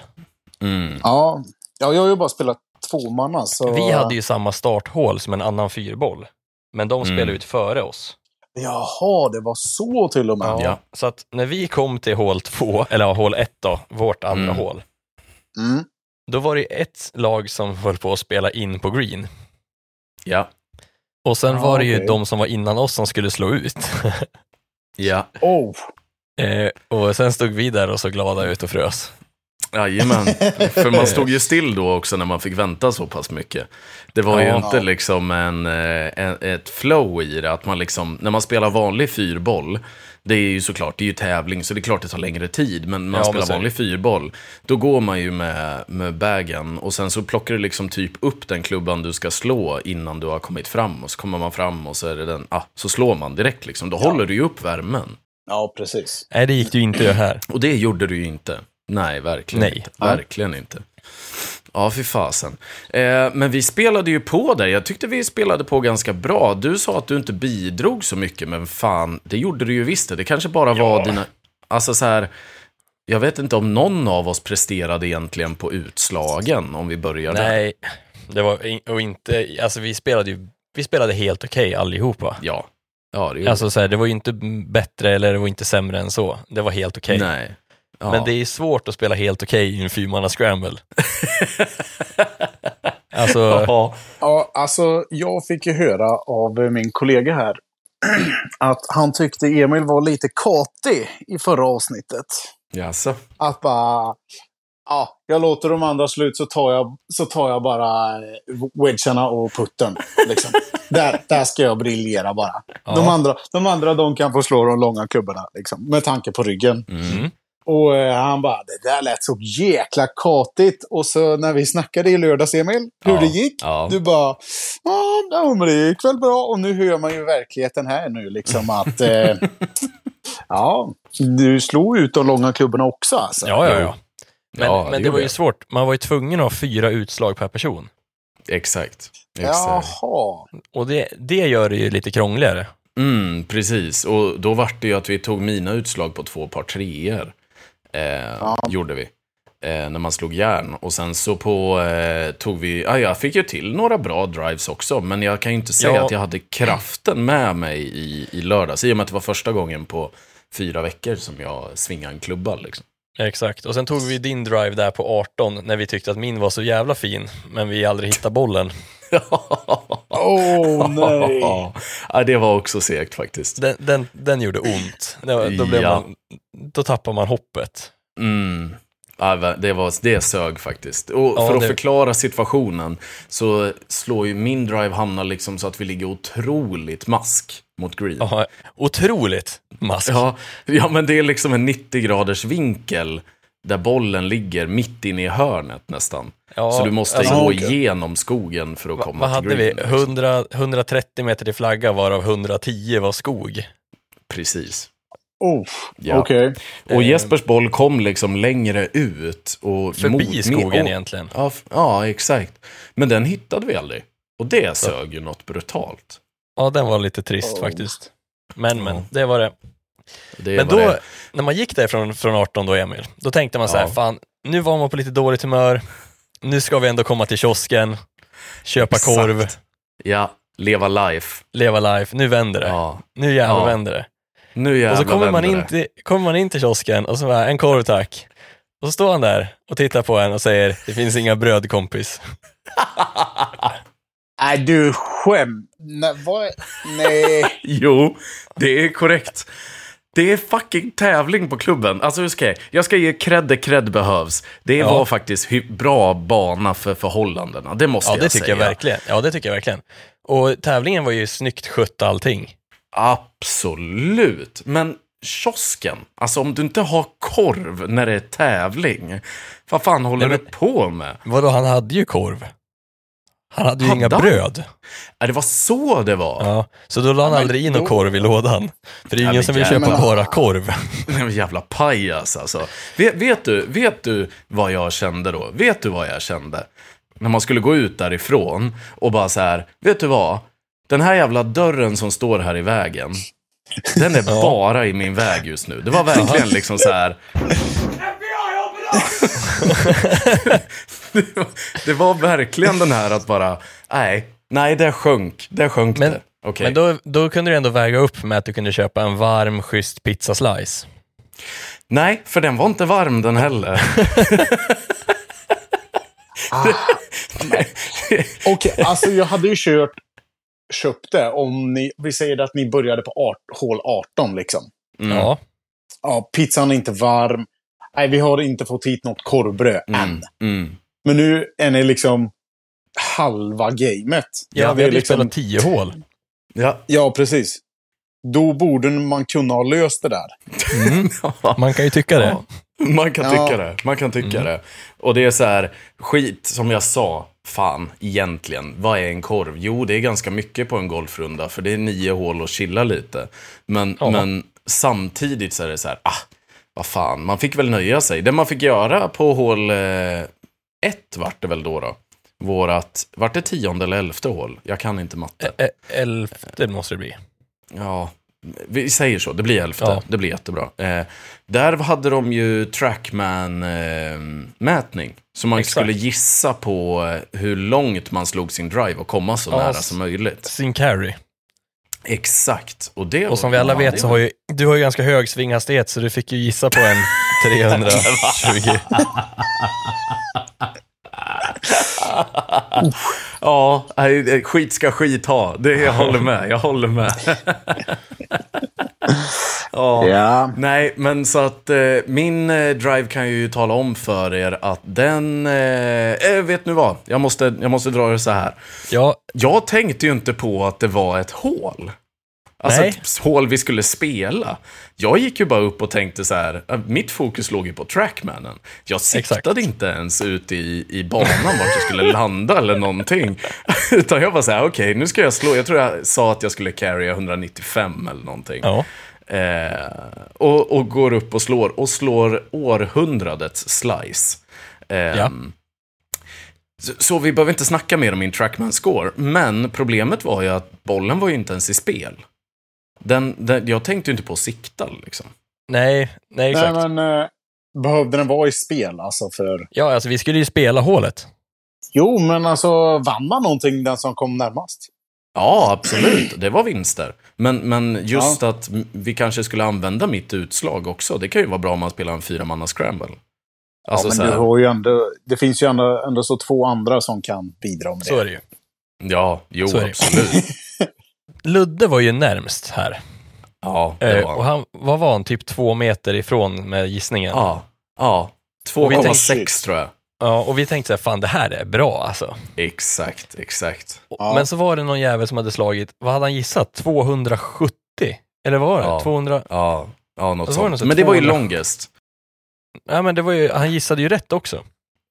Speaker 1: mm,
Speaker 2: Ja. ja, jag har ju bara spelat alltså. tvåmanna. Så...
Speaker 3: Vi hade ju samma starthål som en annan fyrboll, men de spelade
Speaker 1: Mm.
Speaker 3: ut före oss.
Speaker 2: Jaha, det var så till och med.
Speaker 1: Ja.
Speaker 3: Så att när vi kom till hål två, eller ja, hål ett då, vårt andra
Speaker 1: Mm.
Speaker 3: hål,
Speaker 2: Mm.
Speaker 3: då var det ett lag som höll på att spela in på green.
Speaker 1: ja,
Speaker 3: Och sen
Speaker 2: Ja,
Speaker 3: var det ju
Speaker 2: Ah, okej.
Speaker 3: de som var innan oss som skulle slå ut.
Speaker 1: ja,
Speaker 2: Oh.
Speaker 3: eh, och sen stod vi där och så glada ut och frös.
Speaker 1: jajamän. För man stod ju still då också när man fick vänta så pass mycket. Det var ju
Speaker 3: Ja.
Speaker 1: inte liksom en, eh, en, ett flow i det, att man liksom, när man spelar vanlig fyrboll, det är ju såklart, det är ju tävling, så det är klart det tar längre tid, men när man
Speaker 3: Ja, men
Speaker 1: spelar
Speaker 3: så är det.
Speaker 1: vanlig fyrboll, då går man ju med, med bagen och sen så plockar du liksom typ upp den klubban du ska slå innan du har kommit fram och så kommer man fram och så är det den, ah, så slår man direkt liksom, då håller du ju upp värmen.
Speaker 2: Ja, precis.
Speaker 3: Nej, det gick ju inte det här.
Speaker 1: Och det gjorde du ju inte. Nej, verkligen
Speaker 3: Nej.
Speaker 1: inte. Verkligen inte. Ja, fy fasen. Eh, men vi spelade ju på där. Jag tyckte vi spelade på ganska bra. Du sa att du inte bidrog så mycket, men fan, det gjorde du ju visst. det. Det kanske bara var
Speaker 3: Ja.
Speaker 1: dina... Alltså så här, jag vet inte om någon av oss presterade egentligen på utslagen, om vi börjar där.
Speaker 3: Nej, det var in, och inte, alltså vi spelade ju, vi spelade helt okej allihopa.
Speaker 1: Ja. Ja, det gjorde
Speaker 3: Alltså så här, det var ju inte bättre eller det var inte sämre än så. Det var helt okej.
Speaker 1: vi. Nej. Ja.
Speaker 3: Men det är svårt att spela helt okej i en fyrmanna scramble. alltså,
Speaker 1: Ja.
Speaker 2: Ja, alltså, jag fick ju höra av eh, min kollega här att han tyckte Emil var lite katig i förra avsnittet.
Speaker 1: Jaså?
Speaker 2: Att bara... Ja, jag låter de andra slut så tar jag, så tar jag bara eh, wedgarna och putten. Liksom. där, där ska jag briljera bara. De,
Speaker 3: ja.
Speaker 2: andra, de andra de kan få slå de långa kubbarna, liksom, med tanke på ryggen.
Speaker 1: Mm.
Speaker 2: Och eh, han bara, det där lät så jäkla katigt. Och så när vi snackade i lördags, Emil, hur
Speaker 1: Ja,
Speaker 2: det gick.
Speaker 1: Ja.
Speaker 2: Du bara, ja, ja, men det gick väl bra. Och nu hör man ju verkligheten här nu, liksom att... Eh, ja, du slog ut de långa klubborna också alltså.
Speaker 3: ja, ja, ja. Men,
Speaker 1: Ja,
Speaker 3: men det
Speaker 1: gjorde
Speaker 3: var ju
Speaker 1: jag.
Speaker 3: svårt, man var ju tvungen att ha fyra utslag per person.
Speaker 1: Exakt. Exakt.
Speaker 2: Jaha.
Speaker 3: Och det, det gör det ju lite krångligare.
Speaker 1: Mm, precis. Och då vart det ju att vi tog mina utslag på två par treor. Eh, Gjorde vi. Eh, när man slog järn. Och sen så på, eh, tog vi, ah, jag fick ju till några bra drives också. Men jag kan ju inte säga
Speaker 3: Ja.
Speaker 1: att jag hade kraften med mig i, i lördags. I och med att det var första gången på fyra veckor som jag svingade en klubba. Liksom.
Speaker 3: Exakt, och sen tog vi din drive där på 18 när vi tyckte att min var så jävla fin, men vi aldrig hittade bollen.
Speaker 2: Åh nej.
Speaker 1: ja, det var också segt faktiskt.
Speaker 3: Den, den, den gjorde ont. Det var, då, blev
Speaker 1: Ja.
Speaker 3: man, då tappar man hoppet.
Speaker 1: Mm. Ja, va- det, var, det sög faktiskt. Och
Speaker 3: Ja,
Speaker 1: för att
Speaker 3: det-
Speaker 1: förklara situationen så slår ju min drive hamnar liksom så att vi ligger otroligt mask mot green. Ja,
Speaker 3: Ja, otroligt mask.
Speaker 1: ja, men det är liksom en 90 graders vinkel där bollen ligger mitt inne i hörnet nästan.
Speaker 3: Ja,
Speaker 1: så du måste
Speaker 3: alltså,
Speaker 1: gå
Speaker 2: okej.
Speaker 1: igenom skogen för att
Speaker 3: va-
Speaker 1: komma
Speaker 3: Vad
Speaker 1: till
Speaker 3: hade vi?
Speaker 1: green. liksom.
Speaker 3: 100, 130 meter till flagga varav 110 var skog.
Speaker 1: Precis.
Speaker 2: Oh,
Speaker 1: Ja.
Speaker 2: Okej.
Speaker 1: Och Jespers boll kom liksom längre ut. Och
Speaker 3: Förbi
Speaker 1: mot-
Speaker 3: skogen
Speaker 1: och-
Speaker 3: egentligen.
Speaker 1: Ja, f- ja, exakt. Men den hittade vi aldrig. Och det sög ju något brutalt.
Speaker 3: Ja, den var lite trist
Speaker 2: Oh.
Speaker 3: faktiskt. Men, men,
Speaker 1: Ja.
Speaker 3: det var det.
Speaker 1: Det
Speaker 3: Men
Speaker 1: var
Speaker 3: då,
Speaker 1: det.
Speaker 3: när man gick därifrån från 18 då, Emil, då tänkte man så här,
Speaker 1: Ja.
Speaker 3: fan, nu var man på lite dåligt humör, nu ska vi ändå komma till kiosken, köpa
Speaker 1: Exakt.
Speaker 3: korv,
Speaker 1: Ja, leva life.
Speaker 3: leva life, nu vänder det.
Speaker 1: Ja.
Speaker 3: Nu jävlar
Speaker 1: Ja.
Speaker 3: vänder det.
Speaker 1: Nu
Speaker 3: Och
Speaker 1: jävlar
Speaker 3: så kommer man,
Speaker 1: vänder
Speaker 3: in till, kommer man in till kiosken och så bara, en korv tack. Och så står han där och tittar på en och säger, det finns inga bröd kompis.
Speaker 2: Nej, du skäm... Nej, vad... Nej.
Speaker 1: det. Jo, det är korrekt. Det är fucking tävling på klubben. Alltså hur ska jag? Jag ska ge cred där cred behövs. Det
Speaker 3: Ja.
Speaker 1: var faktiskt hy- bra bana för förhållandena. Det måste
Speaker 3: Ja,
Speaker 1: jag
Speaker 3: det
Speaker 1: säga.
Speaker 3: tycker jag verkligen. Ja, det tycker jag verkligen. Och tävlingen var ju snyggt skött allting.
Speaker 1: Absolut. Men kiosken, alltså om du inte har korv när det är tävling, vad fan håller
Speaker 3: Nej,
Speaker 1: du på med?
Speaker 3: Vadå, han hade ju korv. Han hade ju
Speaker 1: Hade
Speaker 3: inga
Speaker 1: han?
Speaker 3: bröd.
Speaker 1: Ja, Äh, det var så det var.
Speaker 3: Ja, så då la han
Speaker 2: men
Speaker 3: aldrig in någon
Speaker 2: då-
Speaker 3: korv i lådan. För det är
Speaker 1: Ja,
Speaker 3: ju
Speaker 1: men
Speaker 3: ingen som vill
Speaker 1: jävlar.
Speaker 3: köpa bara korv.
Speaker 1: Nej, men jävla pajas alltså. Vet, vet, du, vet du vad jag kände då? Vet du vad jag kände? När man skulle gå ut därifrån och bara så här, vet du vad? Den här jävla dörren som står här i vägen, den är bara i min väg just nu. Det var verkligen liksom så här. Det var- det var verkligen den här att bara, nej, nej, där sjönk, där sjönk
Speaker 3: Men-
Speaker 1: det. Okej.
Speaker 3: Men då, då kunde du ändå väga upp med att du kunde köpa en varm, schysst pizzaslice.
Speaker 1: Nej, för den var inte varm den heller.
Speaker 2: Okej, alltså jag hade ju kört, köpt det om ni, vi säger att ni började på art, hål 18 liksom.
Speaker 1: Mm.
Speaker 3: Ja,
Speaker 2: Ja, pizzan är inte varm. Nej, vi har inte fått hit något korvbröd än.
Speaker 1: Mm, mm.
Speaker 2: Men nu är ni liksom halva gamet.
Speaker 3: jag
Speaker 2: det
Speaker 3: hade
Speaker 2: är liksom-
Speaker 3: ju spelat tio hål.
Speaker 1: Ja.
Speaker 2: ja, precis. Då borde man kunna ha löst det där.
Speaker 3: Man kan ju tycka det.
Speaker 1: Ja. Mm. Man kan
Speaker 2: Ja.
Speaker 1: tycka det. Man kan tycka det. Och det är så här, skit som jag sa, fan egentligen, vad är en korv? Jo, det är ganska mycket på en golfrunda, för det är nio hål och chilla lite. Men,
Speaker 3: Ja.
Speaker 1: men samtidigt så är det så här, ah, vad fan, man fick väl nöja sig. Det man fick göra på hål eh, vart det väl då då? Vårat, vart det tionde eller elfte hål? Jag kan inte matte.
Speaker 3: E- elfte måste det bli.
Speaker 1: Ja, vi säger så. Det blir elfte.
Speaker 3: Ja.
Speaker 1: Det blir jättebra. Eh, där hade de ju trackman-mätning. så man
Speaker 3: Exakt.
Speaker 1: skulle gissa på eh, hur långt man slog sin drive och komma så
Speaker 3: Ja,
Speaker 1: nära
Speaker 3: s-
Speaker 1: som möjligt.
Speaker 3: Sin carry.
Speaker 1: Exakt. Och, det var-
Speaker 3: Och som vi alla
Speaker 1: Ja, det
Speaker 3: vet så
Speaker 1: var-
Speaker 3: har ju, du har ju ganska hög svinghastighet så du fick ju gissa på en 320.
Speaker 1: Ja, nej, det- skit ska skit ha. Det, jag håller med. Jag håller med. ja.
Speaker 2: Ja.
Speaker 1: Nej, men så att eh, min eh, drive kan ju tala om för er att den... Eh, eh, vet nu vad? Jag måste, jag måste dra det så här.
Speaker 3: Ja,
Speaker 1: Jag tänkte ju inte på att det var ett hål. Alltså
Speaker 3: Nej.
Speaker 1: ett hål vi skulle spela. Jag gick ju bara upp och tänkte så här, eh, mitt fokus låg ju på trackmannen. Jag siktade
Speaker 3: Exakt.
Speaker 1: inte ens ut i, i banan vart jag skulle landa eller någonting. Utan jag bara så här, okej, nu ska jag slå. Jag tror jag sa att jag skulle carrya 195 eller någonting.
Speaker 3: ja.
Speaker 1: Eh, och, och går upp och slår, och slår århundradets slice. Eh,
Speaker 3: Ja.
Speaker 1: så, så vi behöver inte snacka mer om min trackman-score, men problemet var ju att bollen var ju inte ens i spel. Den, den, jag tänkte ju inte på att sikta liksom.
Speaker 3: Nej, nej exakt.
Speaker 2: Nej, men, eh, behövde den vara i spel alltså? För...
Speaker 3: Ja, alltså vi skulle ju spela hålet.
Speaker 2: Jo, men alltså vann man någonting den som kom närmast?
Speaker 1: Ja, absolut, det var vinster. Men, men just att m- vi kanske skulle använda mitt utslag också, det kan ju vara bra om man spelar en fyramanna-scramble. Alltså,
Speaker 2: ja,
Speaker 1: så
Speaker 2: men
Speaker 1: här-
Speaker 2: du har ju ändå, det finns ju ändå, ändå så två andra som kan bidra med det.
Speaker 3: Så är det ju.
Speaker 1: ja jo,
Speaker 3: Så är det.
Speaker 1: absolut.
Speaker 3: Ludde var ju närmst här.
Speaker 1: Ja, det
Speaker 3: Eh,
Speaker 1: var
Speaker 3: och han, vad var han? Typ två meter ifrån med gissningen.
Speaker 1: Ja, ja.
Speaker 3: Och vi tänkte-
Speaker 1: 2,6 tror jag.
Speaker 3: Ja, och vi tänkte så här, fan det här är bra alltså.
Speaker 1: Exakt, exakt.
Speaker 3: Och-
Speaker 2: Ja.
Speaker 3: Men så var det någon jävel som hade slagit, vad hade han gissat? 270? Eller vad var det?
Speaker 1: Ja.
Speaker 3: 200?
Speaker 1: Ja, ja något
Speaker 3: Och så Alltså,
Speaker 1: sånt.
Speaker 3: var det något så
Speaker 1: Men det var ju
Speaker 3: 200.
Speaker 1: longest.
Speaker 3: Ja, men det var ju, han gissade ju rätt också.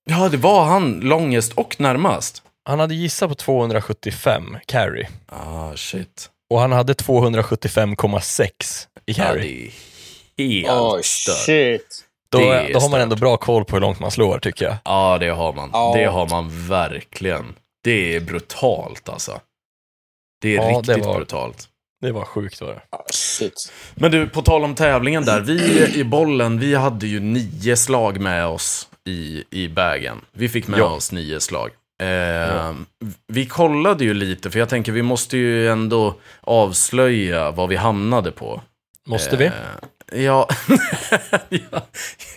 Speaker 1: Ja, det var han longest och närmast.
Speaker 3: Han hade gissat på 275 carry.
Speaker 1: Ah, shit.
Speaker 3: Och han hade 275,6 i
Speaker 1: Ja,
Speaker 3: carry.
Speaker 1: det är helt
Speaker 2: Oj,
Speaker 1: stört.
Speaker 2: Ah, shit.
Speaker 3: då,
Speaker 1: det är
Speaker 3: då har
Speaker 1: stört.
Speaker 3: man ändå bra koll på hur långt man slår tycker jag.
Speaker 1: Ja, det har man.
Speaker 2: Ja.
Speaker 1: Det har man verkligen. Det är brutalt alltså. Det är
Speaker 3: Ja, det
Speaker 1: riktigt
Speaker 3: var-
Speaker 1: brutalt.
Speaker 3: Det var sjukt var det.
Speaker 2: Ja, shit.
Speaker 1: Men du, på tal om tävlingen där. Vi i bollen, vi hade ju nio slag med oss i, i bagen. Vi fick med
Speaker 3: Ja.
Speaker 1: oss nio slag. Eh,
Speaker 3: Ja.
Speaker 1: Vi kollade ju lite, för jag tänker vi måste ju ändå avslöja vad vi hamnade på.
Speaker 3: Måste vi?
Speaker 1: Eh, ja, jag,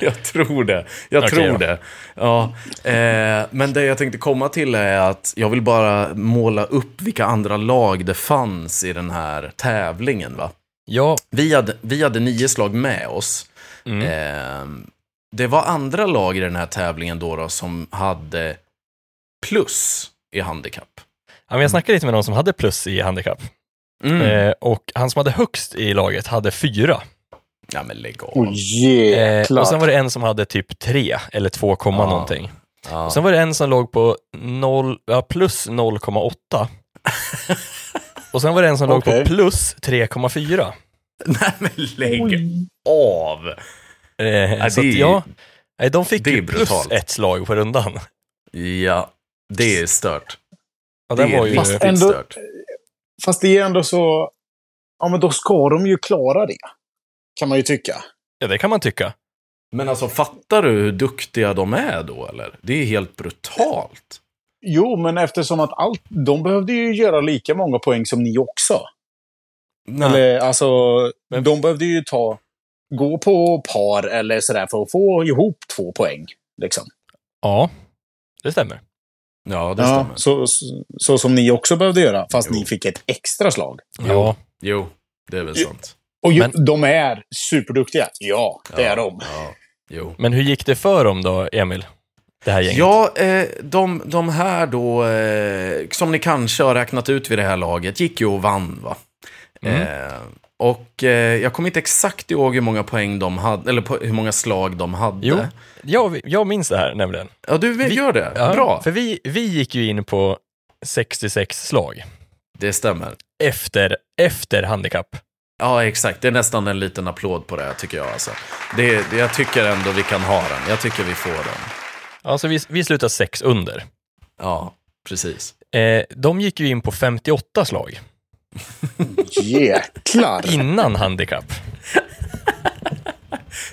Speaker 1: jag tror det. Jag
Speaker 3: Okej,
Speaker 1: tror
Speaker 3: ja.
Speaker 1: det. Ja, eh, men det jag tänkte komma till är att jag vill bara måla upp vilka andra lag det fanns i den här tävlingen. Va?
Speaker 3: Ja,
Speaker 1: Vi hade, vi hade nio slag med oss.
Speaker 3: Mm.
Speaker 1: Ehm, det var andra lag i den här tävlingen då, då som hade plus i handikapp.
Speaker 3: Ja, men jag snackade lite med någon som hade plus i handikapp.
Speaker 1: Mm.
Speaker 3: Eh, och han som hade högst i laget hade fyra.
Speaker 1: Ja, men lägg av.
Speaker 2: Oj,
Speaker 3: Eh,
Speaker 2: jäklar.
Speaker 3: och sen var det en som hade typ tre eller 2, komma
Speaker 1: Ja.
Speaker 3: någonting.
Speaker 1: Ja.
Speaker 3: Och sen var det en som låg på noll, ja, plus 0,8. och sen var det en som låg
Speaker 2: Okej.
Speaker 3: på plus 3,4.
Speaker 1: Nej, men lägg
Speaker 2: Oj.
Speaker 1: av.
Speaker 3: Eh, så
Speaker 1: det
Speaker 3: att,
Speaker 1: är-
Speaker 3: ja, nej, de fick
Speaker 1: det är
Speaker 3: ju plus
Speaker 1: brutalt.
Speaker 3: ett slag på rundan.
Speaker 1: Ja, det är stört.
Speaker 3: Ja,
Speaker 1: Det
Speaker 3: den var
Speaker 1: är
Speaker 3: ju,
Speaker 1: riktigt
Speaker 2: Ändå-
Speaker 1: stört.
Speaker 2: Fast det är ändå så... Ja, men då ska de ju klara det. Kan man ju tycka.
Speaker 3: ja, det kan man tycka.
Speaker 1: Men alltså, fattar du hur duktiga de är då, eller? Det är helt brutalt.
Speaker 2: Jo, men eftersom att allt... De behövde ju göra lika många poäng som ni också.
Speaker 1: Nej.
Speaker 2: Eller, alltså, de behövde ju ta... Gå på par eller sådär för att få ihop två poäng. Liksom.
Speaker 3: Ja, det stämmer.
Speaker 1: Ja, det
Speaker 2: ja,
Speaker 1: stämmer.
Speaker 2: så, så, så som ni också behövde göra, fast
Speaker 1: Jo.
Speaker 2: ni fick ett extra slag.
Speaker 1: Jo.
Speaker 3: Ja,
Speaker 1: Jo, det är väl sant.
Speaker 2: Och ju,
Speaker 3: Men-
Speaker 2: de är superduktiga. Ja, det är de.
Speaker 1: Ja, jo.
Speaker 3: men hur gick det för dem då, Emil? Det här gänget?
Speaker 1: Ja, eh, de, de här då, eh, som ni kanske har räknat ut vid det här laget, gick ju och vann va?
Speaker 3: Mm.
Speaker 1: Eh, och eh, jag kommer inte exakt ihåg hur många poäng de hade, eller po- hur många slag de hade.
Speaker 3: Jo, jag, jag minns det här nämligen.
Speaker 1: Ja, du vi, gör det.
Speaker 3: Ja,
Speaker 1: Bra.
Speaker 3: För vi, vi gick ju in på 66 slag
Speaker 1: Det stämmer.
Speaker 3: efter, efter handikapp.
Speaker 1: Ja, exakt. Det är nästan en liten applåd på det här, tycker jag. Alltså. Det, det- jag tycker ändå vi kan ha den. Jag tycker vi får den.
Speaker 3: Alltså vi, vi slutade sex under.
Speaker 1: Ja, precis.
Speaker 3: Eh, de gick ju in på 58 slag
Speaker 2: Jäklar!
Speaker 3: innan handikapp.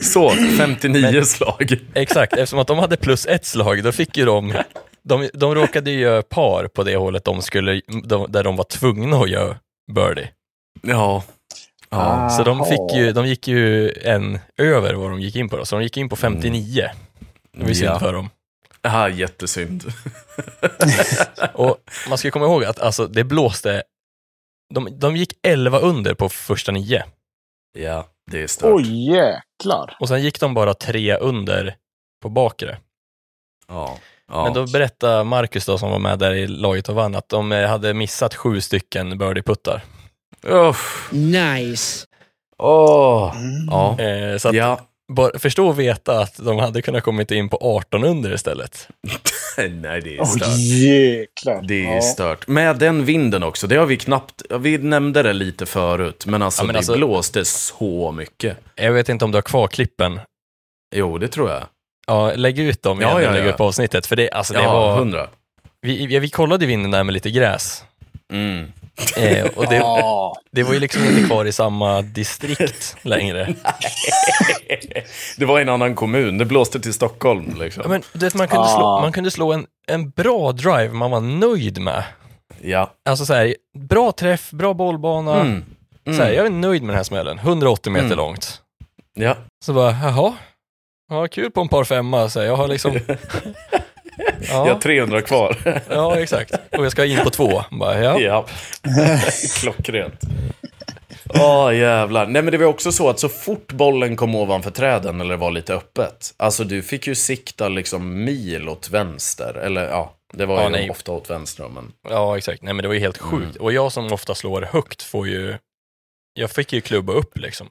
Speaker 1: Så, 59 slag.
Speaker 3: Exakt, eftersom att de hade plus ett slag, då fick ju de... De, de råkade ju göra par på det hålet de skulle, de, där de var tvungna att göra birdie.
Speaker 1: Ja. ja.
Speaker 3: Så de,
Speaker 2: Aha.
Speaker 3: fick ju, de gick ju en över vad de gick in på då, så de gick in på 59. Det var ju synd
Speaker 1: Mm. Ja.
Speaker 3: för dem.
Speaker 1: Det här är jättesynd.
Speaker 3: Och man ska komma ihåg att alltså, det blåste... De, de gick 11 under på första nio.
Speaker 1: Ja, det är stört.
Speaker 2: Oj, jäklar!
Speaker 3: Och sen gick de bara tre under på bakre.
Speaker 1: Ja. Ja.
Speaker 3: Men då berättade Marcus då, som var med där i laget och vann, att de eh, hade missat sju stycken birdieputtar.
Speaker 1: Uff.
Speaker 4: Nice.
Speaker 1: Åh. Ja.
Speaker 3: Eh, så att
Speaker 1: Ja.
Speaker 3: bara förstå och veta att de hade kunnat kommit in på 18 under istället.
Speaker 1: Nej, det är
Speaker 2: Oj,
Speaker 1: stört.
Speaker 2: jäklar!
Speaker 1: Det är
Speaker 2: Ja.
Speaker 1: stört. Med den vinden också, det har vi knappt, vi nämnde det lite förut, men alltså
Speaker 3: Ja, men
Speaker 1: det
Speaker 3: alltså-
Speaker 1: blåste så mycket.
Speaker 3: Jag vet inte om du har kvar klippen.
Speaker 1: Jo, det tror jag.
Speaker 3: Ja, lägg ut dem igen
Speaker 1: Ja,
Speaker 3: när
Speaker 1: ja,
Speaker 3: du lägger
Speaker 1: ja.
Speaker 3: upp avsnittet. För det, alltså, det
Speaker 1: Ja,
Speaker 3: var,
Speaker 1: hundra.
Speaker 3: vi, ja, vi kollade vinden där med lite gräs.
Speaker 1: Mm.
Speaker 3: Eh, och det,
Speaker 2: Ja,
Speaker 3: det var ju liksom inte kvar i samma distrikt längre.
Speaker 1: Det var i en annan kommun, det blåste till Stockholm liksom.
Speaker 3: Ja, Men, du vet, man kunde slå,
Speaker 2: Ah.
Speaker 3: man kunde slå en, en bra drive man var nöjd med.
Speaker 1: Ja.
Speaker 3: Alltså så här, bra träff, bra bollbana.
Speaker 1: Mm. Mm.
Speaker 3: Så här, jag är nöjd med den här smällen, 180 meter
Speaker 1: Mm.
Speaker 3: långt.
Speaker 1: ja.
Speaker 3: Så bara, jaha, ja, kul på en par femma, så här, jag har liksom...
Speaker 1: Jag har
Speaker 3: ja,
Speaker 1: 300 kvar.
Speaker 3: ja, exakt. Och jag ska in på två. Bara, ja.
Speaker 1: Ja, klockrent. Åh jävlar. Nej men det var också så att så fort bollen kom ovanför träden eller var lite öppet, alltså du fick ju sikta liksom mil åt vänster. Eller ja, det var
Speaker 3: Ja,
Speaker 1: ju
Speaker 3: nej.
Speaker 1: ofta åt vänster då, men.
Speaker 3: ja, exakt. Nej, men det var ju helt sjukt. Och jag som ofta slår högt får ju... Jag fick ju klubba upp liksom,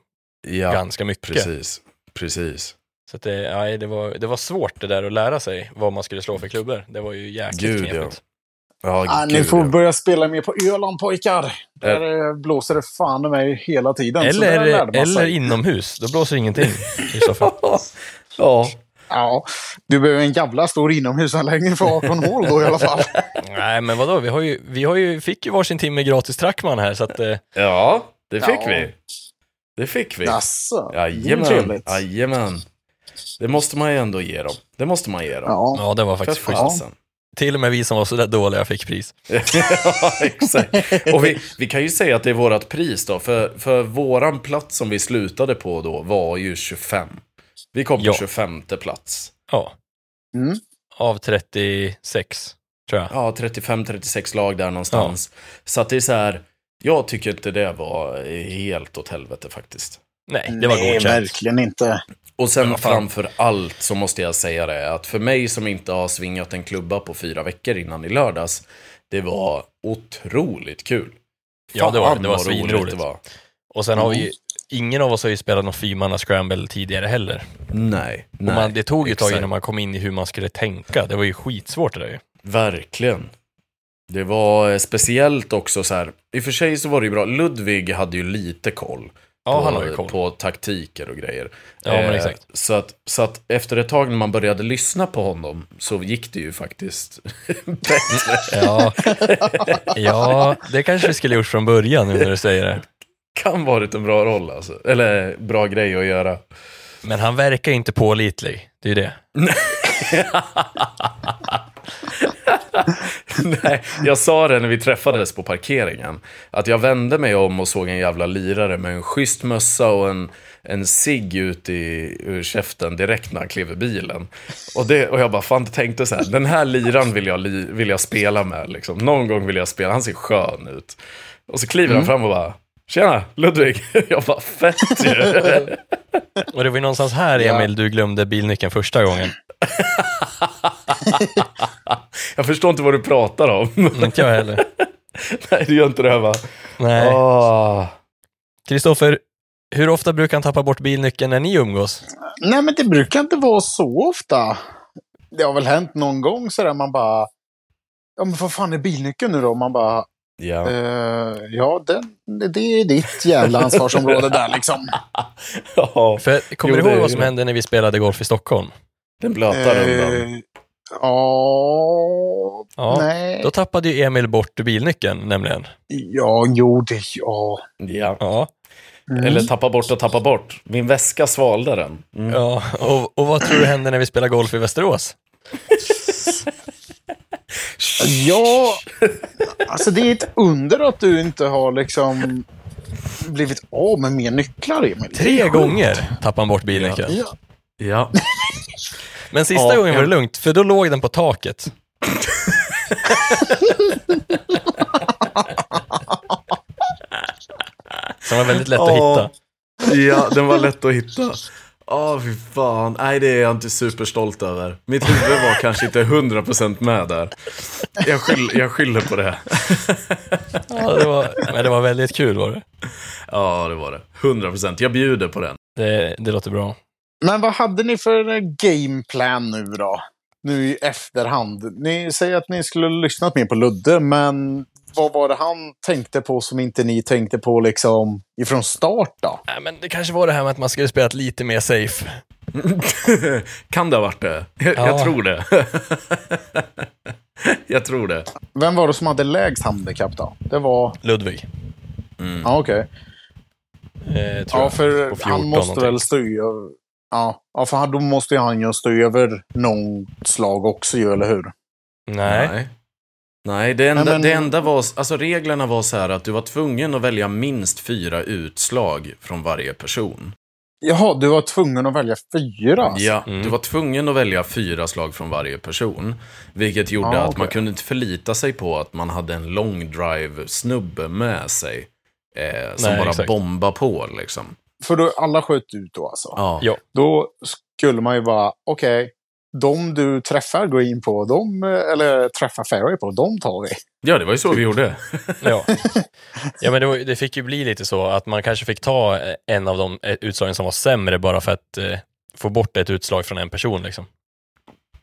Speaker 1: Ja,
Speaker 3: ganska mycket.
Speaker 1: precis. Precis.
Speaker 3: Så att det, nej, det, var, det var svårt det där att lära sig vad man skulle slå för klubbor. Det var ju jäkligt
Speaker 1: Gud, ja.
Speaker 3: knepigt.
Speaker 1: Ja,
Speaker 2: ah, ni
Speaker 1: gud,
Speaker 2: får
Speaker 1: ja.
Speaker 2: börja spela mer på Öland pojkar. Där eh, blåser det fan i mig hela tiden. så där
Speaker 3: Eller,
Speaker 2: lärde man sig.
Speaker 3: eller inomhus, då blåser ingenting i så fall.
Speaker 1: ja.
Speaker 2: Ja, du behöver en jävla stor inomhusanläggning för 18 hål då i alla fall.
Speaker 3: Nej, men vadå, vi, har ju, vi har ju, fick ju varsin timme gratis trackman här, så att, eh,
Speaker 1: ja, det fick
Speaker 2: Ja.
Speaker 1: vi. Det fick vi.
Speaker 2: Jaså? det är ju
Speaker 1: Jajamän.
Speaker 2: trevligt.
Speaker 1: Jajamän. Det måste man ju ändå ge dem. Det måste man ge dem.
Speaker 2: Ja.
Speaker 3: ja, det var
Speaker 1: För
Speaker 3: faktiskt schysst.
Speaker 1: fasen.
Speaker 3: Till och med vi som var så där dåliga fick pris.
Speaker 1: ja, exakt. Och vi, vi kan ju säga att det är vårt pris då, för, för våran plats som vi slutade på då var ju 25. Vi kom på
Speaker 3: Ja.
Speaker 1: 25 plats.
Speaker 3: Ja.
Speaker 2: Mm.
Speaker 3: Av 36, tror jag.
Speaker 1: Ja, 35-36 lag där någonstans. Så att det är så här, jag tycker inte det var helt åt helvete faktiskt.
Speaker 3: Nej, det var
Speaker 2: Nej,
Speaker 3: godkänt.
Speaker 2: verkligen inte.
Speaker 1: Och sen
Speaker 3: vad fan.
Speaker 1: framför allt så måste jag säga det, att för mig som inte har svingat en klubba på fyra veckor innan i lördags, det var otroligt kul.
Speaker 3: Ja, det var, det var
Speaker 1: Fan, vad roligt
Speaker 3: svinroligt.
Speaker 1: det var.
Speaker 3: Och sen har vi ju, ingen av oss har ju spelat någon fyrmanna scramble tidigare heller.
Speaker 1: Nej, nej.
Speaker 3: och man, det tog ju ett tag
Speaker 1: exakt.
Speaker 3: innan man kom in i hur man skulle tänka. Det var ju skitsvårt det där ju.
Speaker 1: Verkligen. Det var eh, speciellt också så här, i och för sig så var det ju bra, Ludvig hade ju lite koll.
Speaker 3: Ja,
Speaker 1: på,
Speaker 3: han har ju koll.
Speaker 1: på taktiker och grejer. Eh,
Speaker 3: Ja, men exakt.
Speaker 1: Så att, så att efter ett tag när man började lyssna på honom så gick det ju faktiskt bättre.
Speaker 3: Ja. ja, det kanske vi skulle gjort från början nu när du säger det.
Speaker 1: kan varit en bra roll alltså. Eller bra grej att göra.
Speaker 3: Men han verkar ju inte pålitlig. Det är ju det.
Speaker 1: Nej, jag sa det när vi träffades på parkeringen. Att jag vände mig om och såg en jävla lirare med en schysst mössa och en, en cigg ut i, ur käften direkt när han klev i bilen. Och, det, och jag bara, fan, tänkte så här, den här liran vill jag, li, vill jag spela med. Liksom. Någon gång vill jag spela, han ser skön ut. Och så kliver
Speaker 2: Mm.
Speaker 1: han fram och bara, tjena, Ludvig. Jag bara, fett ju.
Speaker 3: Och det var ju någonstans här,
Speaker 2: Ja.
Speaker 3: Emil, du glömde bilnyckeln första gången.
Speaker 1: Jag förstår inte vad du pratar om.
Speaker 3: Inte jag heller.
Speaker 1: Nej, du gör inte det "Ah." här va?
Speaker 3: Nej.
Speaker 1: Åh.
Speaker 3: Kristoffer, hur ofta brukar han tappa bort bilnyckeln när ni umgås?
Speaker 2: Nej, men det brukar inte vara så ofta. Det har väl hänt någon gång sådär man bara... Ja, men vad fan är bilnyckeln nu då? Man bara...
Speaker 1: Ja.
Speaker 2: Eh, ja, den, det är ditt jävla ansvarsområde där liksom.
Speaker 1: ja,
Speaker 3: För
Speaker 1: Jo,
Speaker 3: kommer du
Speaker 1: det
Speaker 3: ihåg
Speaker 1: är
Speaker 3: vad
Speaker 1: ju
Speaker 3: som
Speaker 1: det.
Speaker 3: hände när vi spelade golf i Stockholm?
Speaker 1: den blöta rundan.
Speaker 2: Eh, Ja,
Speaker 3: Ja.
Speaker 2: nej.
Speaker 3: Då tappade ju Emil bort bilnyckeln nämligen.
Speaker 2: Ja, jo, det... Ja.
Speaker 1: Ja.
Speaker 3: Ja,
Speaker 2: Mm.
Speaker 1: Eller tappa bort och tappa bort. Min väska svalde den. Mm.
Speaker 3: ja. Och, och vad tror du hände när vi spelade golf i Västerås?
Speaker 2: Ja, alltså det är ett under att du inte har liksom blivit av med mer nycklar, Emil.
Speaker 3: Tre gånger tappade han bort bilnyckeln.
Speaker 2: Ja.
Speaker 1: Ja.
Speaker 3: Men sista
Speaker 1: Ja,
Speaker 3: gången var
Speaker 1: ja.
Speaker 3: det lugnt, för då låg den på taket. Som var väldigt lätt att hitta.
Speaker 1: Ja, den var lätt att hitta. Ja, fy fan. Nej, det är jag inte superstolt över. Mitt huvud var kanske inte 100% med där. Jag, skyll, jag skyller på det.
Speaker 3: Ja, det var, men det var väldigt kul var det.
Speaker 1: Ja, det var det. 100%. Jag bjuder på den.
Speaker 3: Det, det låter bra.
Speaker 2: Men vad hade ni för eh, gameplan nu då? Nu i efterhand. Ni säger att ni skulle ha lyssnat mer på Ludde, men vad var det han tänkte på som inte ni tänkte på liksom ifrån start då?
Speaker 3: Nej, men det kanske var det här med att man skulle spela lite mer safe.
Speaker 1: kan det ha varit det? Jag, jag
Speaker 3: Ja.
Speaker 1: tror det. jag tror det.
Speaker 2: Vem var det som hade lägst handikapp då? Det var...
Speaker 3: Ludvig,
Speaker 2: Ja, okej.
Speaker 3: eh, Mm. tror
Speaker 2: Ja, för
Speaker 3: på 14
Speaker 2: han måste väl
Speaker 3: någonting.
Speaker 2: stå över... Ja, ja, för han- då måste ju han ju stå över något slag också ju, eller hur?
Speaker 3: jag. Nej.
Speaker 1: Nej, det enda,
Speaker 2: Nej, men-
Speaker 1: det enda var, alltså reglerna var så här att du var tvungen att välja minst fyra utslag från varje person.
Speaker 2: Jaha, du var tvungen att välja fyra? alltså.
Speaker 1: Ja,
Speaker 3: Mm.
Speaker 1: du var tvungen att välja fyra slag från varje person. Vilket gjorde
Speaker 2: Ja,
Speaker 1: att man
Speaker 2: okej.
Speaker 1: kunde inte förlita sig på att man hade en long drive-snubbe med sig. Eh, som
Speaker 3: Nej,
Speaker 1: bara
Speaker 3: exakt.
Speaker 1: bomba på liksom.
Speaker 2: För då alla sköt ut då alltså?
Speaker 1: Ja.
Speaker 3: Ja.
Speaker 2: Då skulle man ju vara, okej, de du träffar green på, de, eller träffar fairway på, de tar vi.
Speaker 1: ja, det var ju så vi gjorde.
Speaker 3: Ja. ja, men det, var, det fick ju bli lite så att man kanske fick ta eh, en av de eh, utslagen som var sämre bara för att eh, få bort ett utslag från en person. Liksom.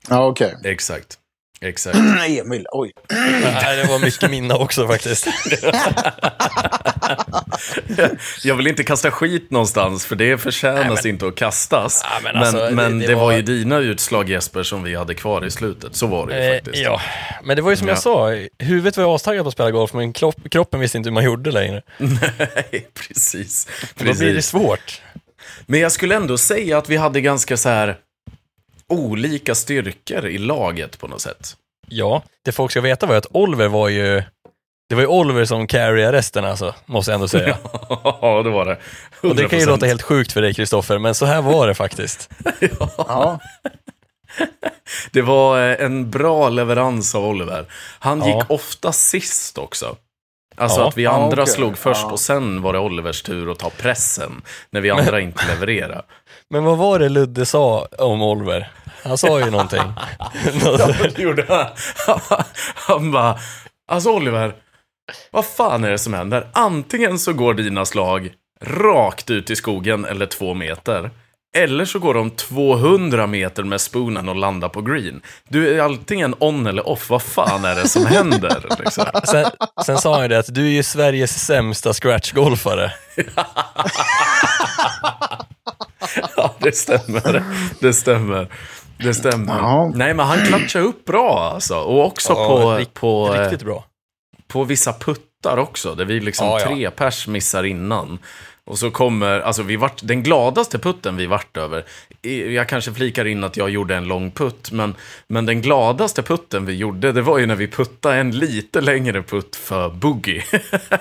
Speaker 2: Ja, okej.
Speaker 1: Exakt. Exakt.
Speaker 2: Emil, oj.
Speaker 3: Nej, det var mycket minna också faktiskt.
Speaker 1: Jag vill inte kasta skit någonstans, för det förtjänas
Speaker 3: Nej,
Speaker 1: inte att kastas.
Speaker 3: Ja, men
Speaker 1: men
Speaker 3: alltså, det-
Speaker 1: men,
Speaker 3: det
Speaker 1: det, var...
Speaker 3: var
Speaker 1: ju dina utslag Jesper som vi hade kvar i slutet. Så var det ju
Speaker 3: Eh,
Speaker 1: faktiskt.
Speaker 3: ja, men det var ju som
Speaker 1: Ja.
Speaker 3: jag sa, huvudet var ju astaggad på att spela golf, men kropp, kroppen visste inte hur man gjorde längre.
Speaker 1: Nej, precis.
Speaker 3: Då blir det
Speaker 1: precis.
Speaker 3: svårt.
Speaker 1: Men jag skulle ändå säga att vi hade ganska så här olika styrkor i laget på något sätt.
Speaker 3: Ja, det folk ska veta var ju att Oliver var ju, det var ju Oliver som carryade resten alltså, måste jag ändå säga.
Speaker 1: Ja, det var det. 100%.
Speaker 3: Och det kan ju låta helt sjukt för dig Kristoffer, men så här var det faktiskt.
Speaker 2: Ja,
Speaker 1: Det var eh, en bra leverans av Oliver. Han
Speaker 3: Ja.
Speaker 1: gick ofta sist också. Alltså
Speaker 3: Ja.
Speaker 1: att vi
Speaker 2: Ja,
Speaker 1: andra
Speaker 2: okej.
Speaker 1: slog först
Speaker 2: Ja.
Speaker 1: och sen var det Olivers tur att ta pressen när vi andra inte levererade.
Speaker 3: Men vad var det Ludde sa om Oliver? Han sa ju någonting. Något-
Speaker 1: Det gjorde han. Han bara, alltså Oliver, vad fan är det som händer? Antingen så går dina slag rakt ut i skogen eller två meter. Eller så går de 200 meter med spoonen och landar på green. Du är antingen on eller off, vad fan är det som händer? Liksom.
Speaker 3: sen, sen sa han ju det att du är ju Sveriges sämsta scratchgolfare.
Speaker 1: Ja, det stämmer. Det stämmer. Det stämmer.
Speaker 2: Ja.
Speaker 1: Nej, men han klatschar upp bra alltså. Och också
Speaker 3: Ja,
Speaker 1: på,
Speaker 3: rikt-
Speaker 1: på, eh,
Speaker 3: Riktigt bra.
Speaker 1: på vissa puttar också. Där vi liksom
Speaker 3: Ja, ja.
Speaker 1: tre pers missar innan. Och så kommer, alltså vi vart, den gladaste putten vi vart över. i- Jag kanske flikar in att jag gjorde en lång putt. Men, men den gladaste putten vi gjorde, det var ju när vi puttade en lite längre putt för boogie.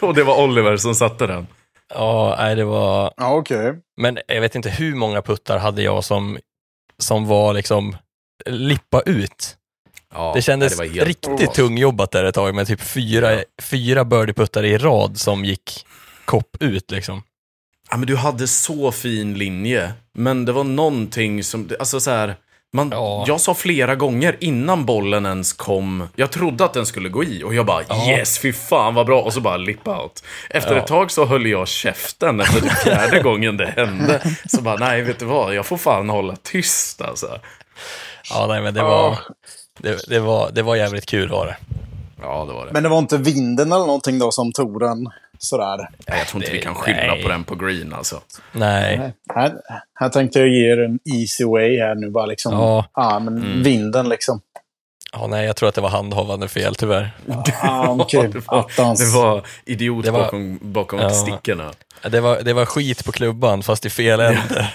Speaker 1: Och det var Oliver som satte den.
Speaker 3: Ja, nej, det var...
Speaker 2: ja okej.
Speaker 3: Men jag vet inte hur många puttar hade jag som, som var liksom lippa ut.
Speaker 1: Ja,
Speaker 3: Det kändes
Speaker 1: var helt-
Speaker 3: riktigt
Speaker 2: Oh.
Speaker 3: tungjobbat där ett tag med typ fyra,
Speaker 1: Ja.
Speaker 3: fyra birdieputtar i rad som gick kopp ut liksom.
Speaker 1: Ja, men du hade så fin linje. Men det var någonting som, alltså så här, man,
Speaker 3: Ja.
Speaker 1: jag sa flera gånger innan bollen ens kom, jag trodde att den skulle gå i och jag bara
Speaker 3: Ja.
Speaker 1: yes, fy fan vad bra och så bara lip out. Efter
Speaker 3: Ja.
Speaker 1: ett tag så höll jag käften efter den fjärde gången det hände. Så bara nej, vet du vad, jag får fan hålla tyst alltså.
Speaker 3: Ja, nej, men det
Speaker 2: Ja.
Speaker 3: var, det, det var, det var jävligt kul var det.
Speaker 1: Ja, det var det.
Speaker 2: Men det var inte vinden eller någonting då som tog den? sådär.
Speaker 1: Nej, jag tror inte
Speaker 3: det-
Speaker 1: vi kan skylla
Speaker 3: nej.
Speaker 1: på den på green alltså.
Speaker 3: Nej.
Speaker 2: Här, här tänkte jag ge er en easy way här nu bara liksom. Ja,
Speaker 3: Ja,
Speaker 2: men
Speaker 1: Mm.
Speaker 2: vinden liksom.
Speaker 3: ja, nej, jag tror att det var handhavande fel tyvärr.
Speaker 2: Ja, okej.
Speaker 1: det var-
Speaker 2: Attans.
Speaker 1: Det var idiot
Speaker 3: Det var-
Speaker 1: bakom, bakom
Speaker 3: Ja.
Speaker 1: stickorna.
Speaker 3: Det var, det var skit på klubban, fast i fel ände.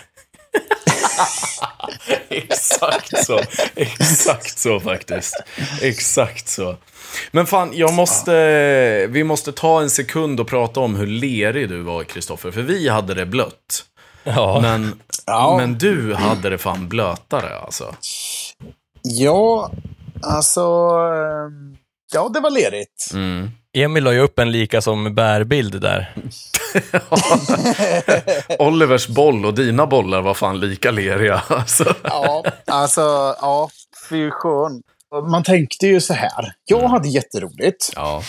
Speaker 1: Exakt så. Exakt så faktiskt. Exakt så. Men fan, jag måste, vi måste ta en sekund och prata om hur lerig du var, Kristoffer. För vi hade det blött.
Speaker 3: Ja,
Speaker 1: Men,
Speaker 2: Ja.
Speaker 1: men du hade det fan blötare alltså.
Speaker 2: Ja, alltså... eh, Ja, det var ledigt.
Speaker 1: Mm.
Speaker 3: Emil la ju upp en lika som bärbild där.
Speaker 1: Olivers boll och dina bollar var fan lika leriga. Alltså.
Speaker 2: Ja, alltså... Ja, fy skön. Man tänkte ju så här. Jag hade jätteroligt.
Speaker 1: Ja.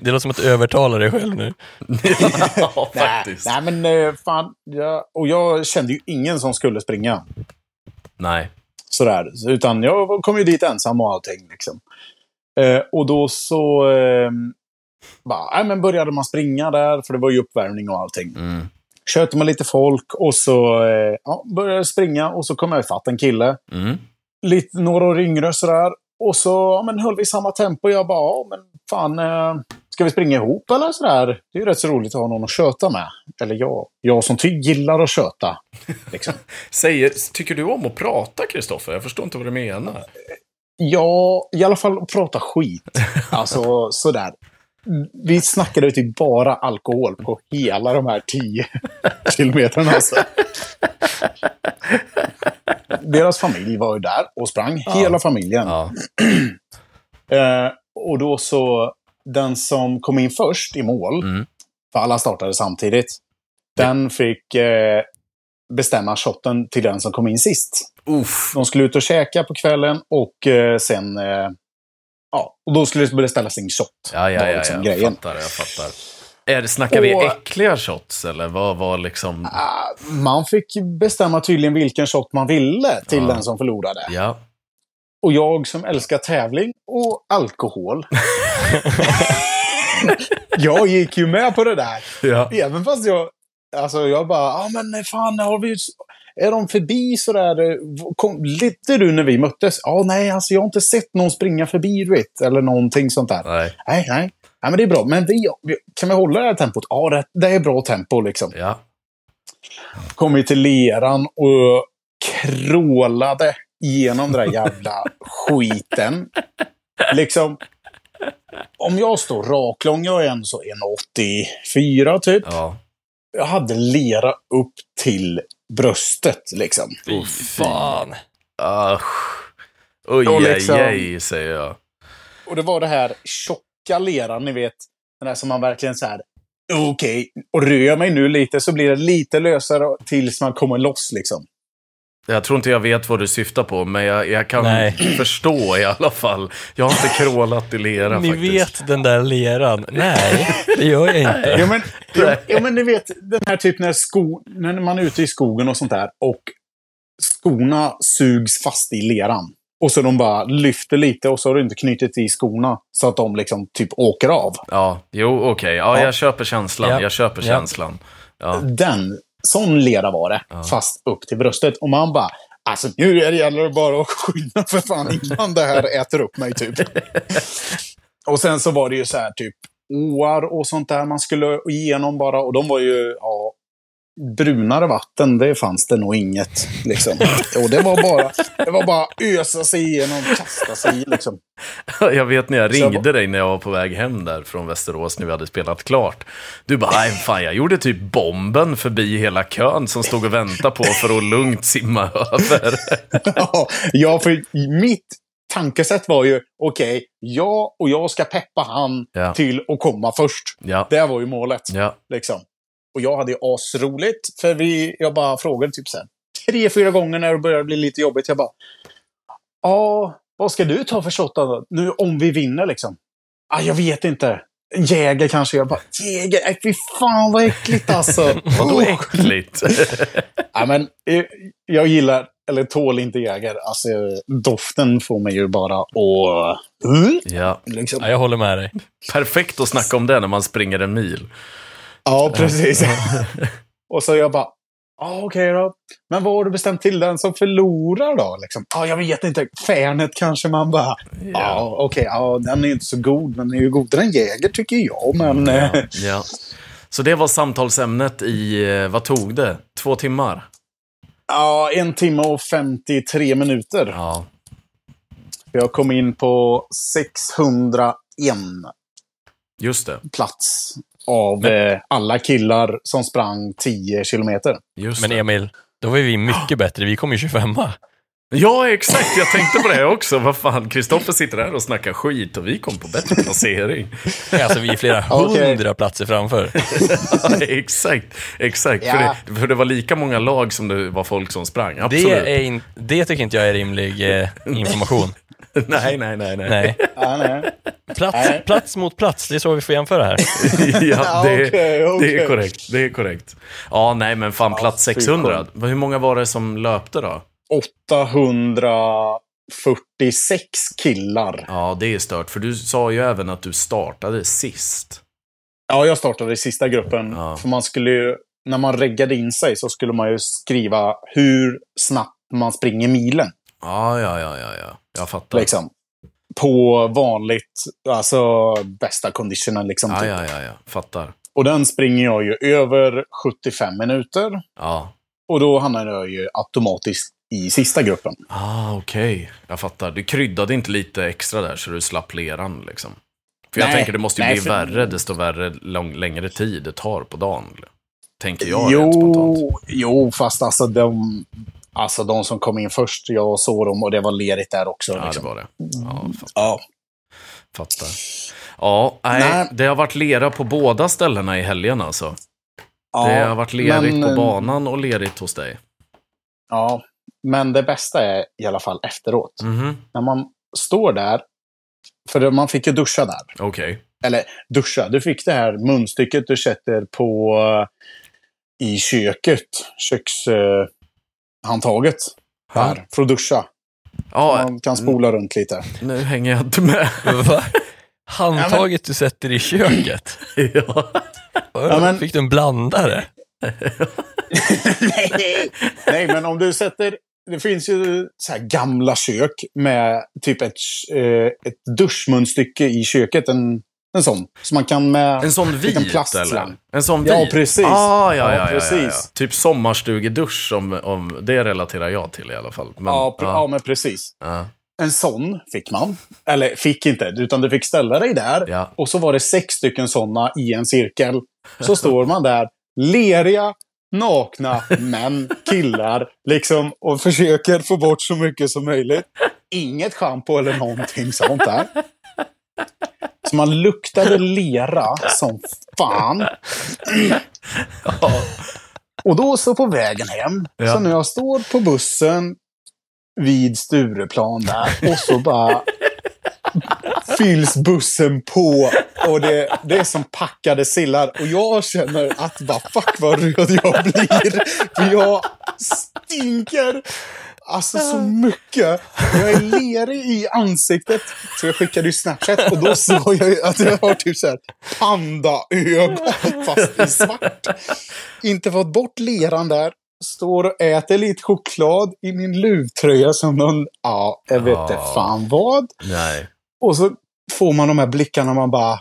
Speaker 3: Det låter som att övertala dig själv nu.
Speaker 1: ja,
Speaker 2: Nej,
Speaker 1: faktiskt.
Speaker 2: nej, men eh, fan. Jag, och jag kände ju ingen som skulle springa.
Speaker 1: Nej.
Speaker 2: Sådär. Utan jag kom ju dit ensam och allting. Liksom. Eh, och då så eh, bara, nej, men började man springa där, för det var ju uppvärmning och allting.
Speaker 1: Mm.
Speaker 2: Köpte man lite folk och så eh, ja, började jag springa och så kom jag ifatt en kille.
Speaker 1: Mm.
Speaker 2: Lite, några år yngre sådär. Och så ja, men höll vi samma tempo. Jag bara, ja, men fan, eh, ska vi springa ihop eller sådär? Det är ju rätt så roligt att ha någon att köta med. Eller jag, jag som ty gillar att köta. Liksom.
Speaker 1: Säger, tycker du om att prata, Kristoffer? Jag förstår inte vad du menar.
Speaker 2: Ja, i alla fall att prata skit. Alltså sådär. Vi snackade ju typ bara alkohol på hela de här 10 kilometrarna. Alltså. Deras familj var ju där och sprang, hela familjen.
Speaker 1: Ja.
Speaker 2: Eh, och då så, den som kom in först i mål,
Speaker 1: Mm.
Speaker 2: för alla startade samtidigt, den fick eh, bestämma shotten till den som kom in sist.
Speaker 1: Uff.
Speaker 2: De skulle ut och käka på kvällen och eh, sen... Eh, ja, och då skulle det beställas en shot.
Speaker 1: Ja, ja,
Speaker 2: var
Speaker 1: ja,
Speaker 2: liksom
Speaker 1: ja. jag
Speaker 2: grejen.
Speaker 1: fattar, jag fattar. Är det, snackar vi
Speaker 2: Och-
Speaker 1: äckliga shots eller vad var liksom...
Speaker 2: Ah, man fick bestämma tydligen vilken shot man ville till
Speaker 1: Ja.
Speaker 2: den som förlorade.
Speaker 1: Ja.
Speaker 2: Och jag som älskar tävling och alkohol. jag gick ju med på det där.
Speaker 1: ja.
Speaker 2: Även fast jag... Alltså jag bara, ja ah, men fan, har vi... Är de förbi sådär? eh, Kom, lite du när vi möttes? Ja, nej, alltså jag har inte sett någon springa förbi, du vet. Eller någonting sånt där.
Speaker 1: Nej.
Speaker 2: Nej, nej. Ja, men det är bra. Men vi, vi, kan vi hålla det här tempot? Ja, det, det är bra tempo. Liksom.
Speaker 1: Ja.
Speaker 2: Kom vi till leran och krålade genom den där jävla skiten. Liksom, om jag står raklång, jag är en så 1,84 typ.
Speaker 1: Ja.
Speaker 2: Jag hade lera upp till bröstet. Liksom.
Speaker 3: Fy fan.
Speaker 1: Usch. Oj,
Speaker 2: Och
Speaker 1: oj,
Speaker 2: liksom-
Speaker 1: oj, säger jag.
Speaker 2: Och det var det här tjocka leran, ni vet. Den där som man verkligen så här. Okej, och rör jag mig nu lite så blir det lite lösare tills man kommer loss liksom.
Speaker 1: Jag tror inte jag vet vad du syftar på, men jag, jag kan
Speaker 3: Nej.
Speaker 1: förstå i alla fall. Jag har inte krålat i lera
Speaker 3: Ni
Speaker 1: faktiskt.
Speaker 3: vet den där leran? Nej, det gör jag inte.
Speaker 2: Ja men, ja, ja, men ni vet, den här typen när, sko, när man är ute i skogen och sånt där och skorna sugs fast i leran. Och så de bara lyfter lite och så har du inte knutit i skorna så att de liksom typ åker av.
Speaker 1: Ja, jo, okej. Ja,
Speaker 2: Ja.
Speaker 1: jag köper känslan.
Speaker 3: Ja.
Speaker 1: Jag köper
Speaker 3: Ja.
Speaker 1: känslan. Ja.
Speaker 2: Den, sån lera var det, fast upp till bröstet. Och man bara, alltså nu är det gäller det bara att skynda för fan innan det här äter upp mig typ. och sen så var det ju så här typ åar och sånt där man skulle igenom bara. Och de var ju, ja, brunare vatten, det fanns det nog inget. Liksom. Och det var bara det var bara ösa sig igenom, kasta sig i, liksom.
Speaker 1: Jag vet när jag
Speaker 2: Så jag
Speaker 1: ringde dig när jag var på väg hem där från Västerås när vi hade spelat klart. Du bara, nej fan jag gjorde typ bomben förbi hela kön som stod och väntade på för att lugnt simma över.
Speaker 2: Ja, för mitt tankesätt var ju, okej, jag och jag ska peppa han
Speaker 1: Ja.
Speaker 2: till att komma först.
Speaker 1: Ja,
Speaker 2: Det var ju målet.
Speaker 1: ja,
Speaker 2: Liksom. Och jag hade ju asroligt, för vi, jag bara frågade typ sen. Tre, fyra gånger när det började bli lite jobbigt. Jag bara, ja, vad ska du ta för shot då? Nu om vi vinner liksom. Ah, jag vet inte. En Jäger kanske. Jag bara, jäger? Nej, fy fan vad äckligt alltså.
Speaker 1: vadå äckligt?
Speaker 2: Ja, men, eh, jag gillar eller tål inte jägar. Alltså, doften får mig ju bara att... Mm,
Speaker 1: Ja.
Speaker 2: Liksom.
Speaker 3: Ja, jag håller med dig.
Speaker 1: Perfekt att snacka om det när man springer en mil.
Speaker 2: Ja, precis. och så jag bara, ja okej då. Men vad har du bestämt till den som förlorar då? Liksom, ja, jag vet inte. Färnet kanske man bara, ja okej, ja, den är inte så god, men den är ju godare än Jäger tycker jag. Men
Speaker 1: Ja,
Speaker 2: eh,
Speaker 1: ja. Så det var samtalsämnet i, eh, vad tog det? Två timmar?
Speaker 2: ja, en timme och 53 minuter.
Speaker 1: Ja.
Speaker 2: Jag kom in på 601
Speaker 1: Just det.
Speaker 2: plats av eh, alla killar som sprang 10 kilometer.
Speaker 1: Just
Speaker 3: Men
Speaker 1: det.
Speaker 3: Emil, då var vi mycket bättre. Vi kom ju 25
Speaker 1: Ja, exakt. Jag tänkte på det också. Vad fan, Kristoffer sitter här och snackar skit och vi kom på bättre placering.
Speaker 3: Alltså vi är flera
Speaker 2: Okej.
Speaker 3: hundra platser framför.
Speaker 1: Ja, exakt, exakt.
Speaker 2: Ja.
Speaker 1: För, det, för det var lika många lag som det var folk som sprang. Absolut.
Speaker 3: Det, är in, det tycker inte jag är rimlig eh, information.
Speaker 1: Nej, nej, nej. nej.
Speaker 3: Nej.
Speaker 2: Ja, nej.
Speaker 3: Plats,
Speaker 2: Nej.
Speaker 3: plats mot plats, det är så vi får jämföra här.
Speaker 1: ja, det,
Speaker 2: Okej, okej.
Speaker 1: det är korrekt. Det är korrekt. Ja, nej, men fan, plats
Speaker 2: fy
Speaker 1: 600. Hur många var det som löpte då?
Speaker 2: 846 killar.
Speaker 1: Ja, det är stört. För du sa ju även att du startade sist.
Speaker 2: Ja, jag startade i sista gruppen.
Speaker 1: Ja.
Speaker 2: För man skulle ju, när man reggade in sig så skulle man ju skriva hur snabbt man springer milen.
Speaker 1: Ja, ja, ja, ja. ja. Jag fattar.
Speaker 2: Liksom. På vanligt, alltså bästa conditionen. Liksom,
Speaker 1: Ja,
Speaker 2: typ.
Speaker 1: ja, ja, ja. Fattar.
Speaker 2: Och den springer jag ju över 75 minuter.
Speaker 1: Ja.
Speaker 2: Och då hamnar jag ju automatiskt i sista gruppen.
Speaker 1: Ah, okej. Jag fattar. Du kryddade inte lite extra där så du slapp leran liksom. För jag
Speaker 2: Nej,
Speaker 1: tänker det måste ju
Speaker 2: nej,
Speaker 1: bli
Speaker 2: för-
Speaker 1: värre desto värre lång, längre tid det tar på dagen. liksom. Tänker jag rent spontant.
Speaker 2: jo, jo, fast alltså de, alltså de som kom in först, jag såg dem och det var lerigt där också.
Speaker 1: Ja, det
Speaker 2: liksom.
Speaker 1: var det. Ja, fa-
Speaker 2: ja.
Speaker 1: fattar. Ja, nej,
Speaker 2: Nej.
Speaker 1: det har varit lera på båda ställena i helgen alltså. det har varit lerigt
Speaker 2: men- eh,
Speaker 1: på banan och lerigt hos dig.
Speaker 2: Ja, men det bästa är i alla fall efteråt.
Speaker 1: Mhm,
Speaker 2: När man står där, för man fick ju duscha där.
Speaker 1: okej.
Speaker 2: Eller duscha, du fick det här munstycket du sätter på eh, i köket, kökshandtaget. Där, för att duscha.
Speaker 1: Ja,
Speaker 2: Man kan spola runt lite.
Speaker 1: nu hänger jag inte med.
Speaker 3: Va? Handtaget du sätter i köket?
Speaker 1: ja.
Speaker 2: Ja, men-
Speaker 3: Fick du en blandare?
Speaker 2: Nej. Nej, men om du sätter... Det finns ju så här gamla kök med typ ett, eh, ett duschmunstycke i köket. En, en sån. Som man kan med...
Speaker 1: En sån
Speaker 2: Liten
Speaker 1: vit
Speaker 2: plastslang.
Speaker 1: eller? En sån vit?
Speaker 2: Ja, precis.
Speaker 1: Ah, ja, ja,
Speaker 2: Ja,
Speaker 1: ja, precis. Ja, ja.
Speaker 2: precis.
Speaker 1: Typ sommarstugedusch, om, om, det relaterar jag till i alla fall. Men,
Speaker 2: ja, pr- ja,
Speaker 1: ja,
Speaker 2: men precis.
Speaker 1: ja,
Speaker 2: En sån fick man. Eller fick inte, utan du fick ställa dig där.
Speaker 1: ja.
Speaker 2: Och så var det sex stycken såna i en cirkel. Så står man där, leriga, nakna män, killar, liksom och försöker få bort så mycket som möjligt. Inget schampo eller någonting sånt där. Så man luktade lera som fan. Och då så på vägen hem,
Speaker 1: Ja.
Speaker 2: så när jag står på bussen vid Stureplan där och så bara fylls bussen på och det, det är som packade sillar. Och jag känner att bara fuck vad röd jag blir. För jag stinker alltså så mycket. Och Jag är lerig i ansiktet. Så jag skickade ju Snapchat och då såg jag ju att jag har typ så här pandaögon fast i svart. Inte fått bort leran där. Står och äter lite choklad i min luvtröja som någon, ja, jag vet inte
Speaker 1: Ja.
Speaker 2: fan vad.
Speaker 1: Nej.
Speaker 2: Och så får man de här blickarna man bara...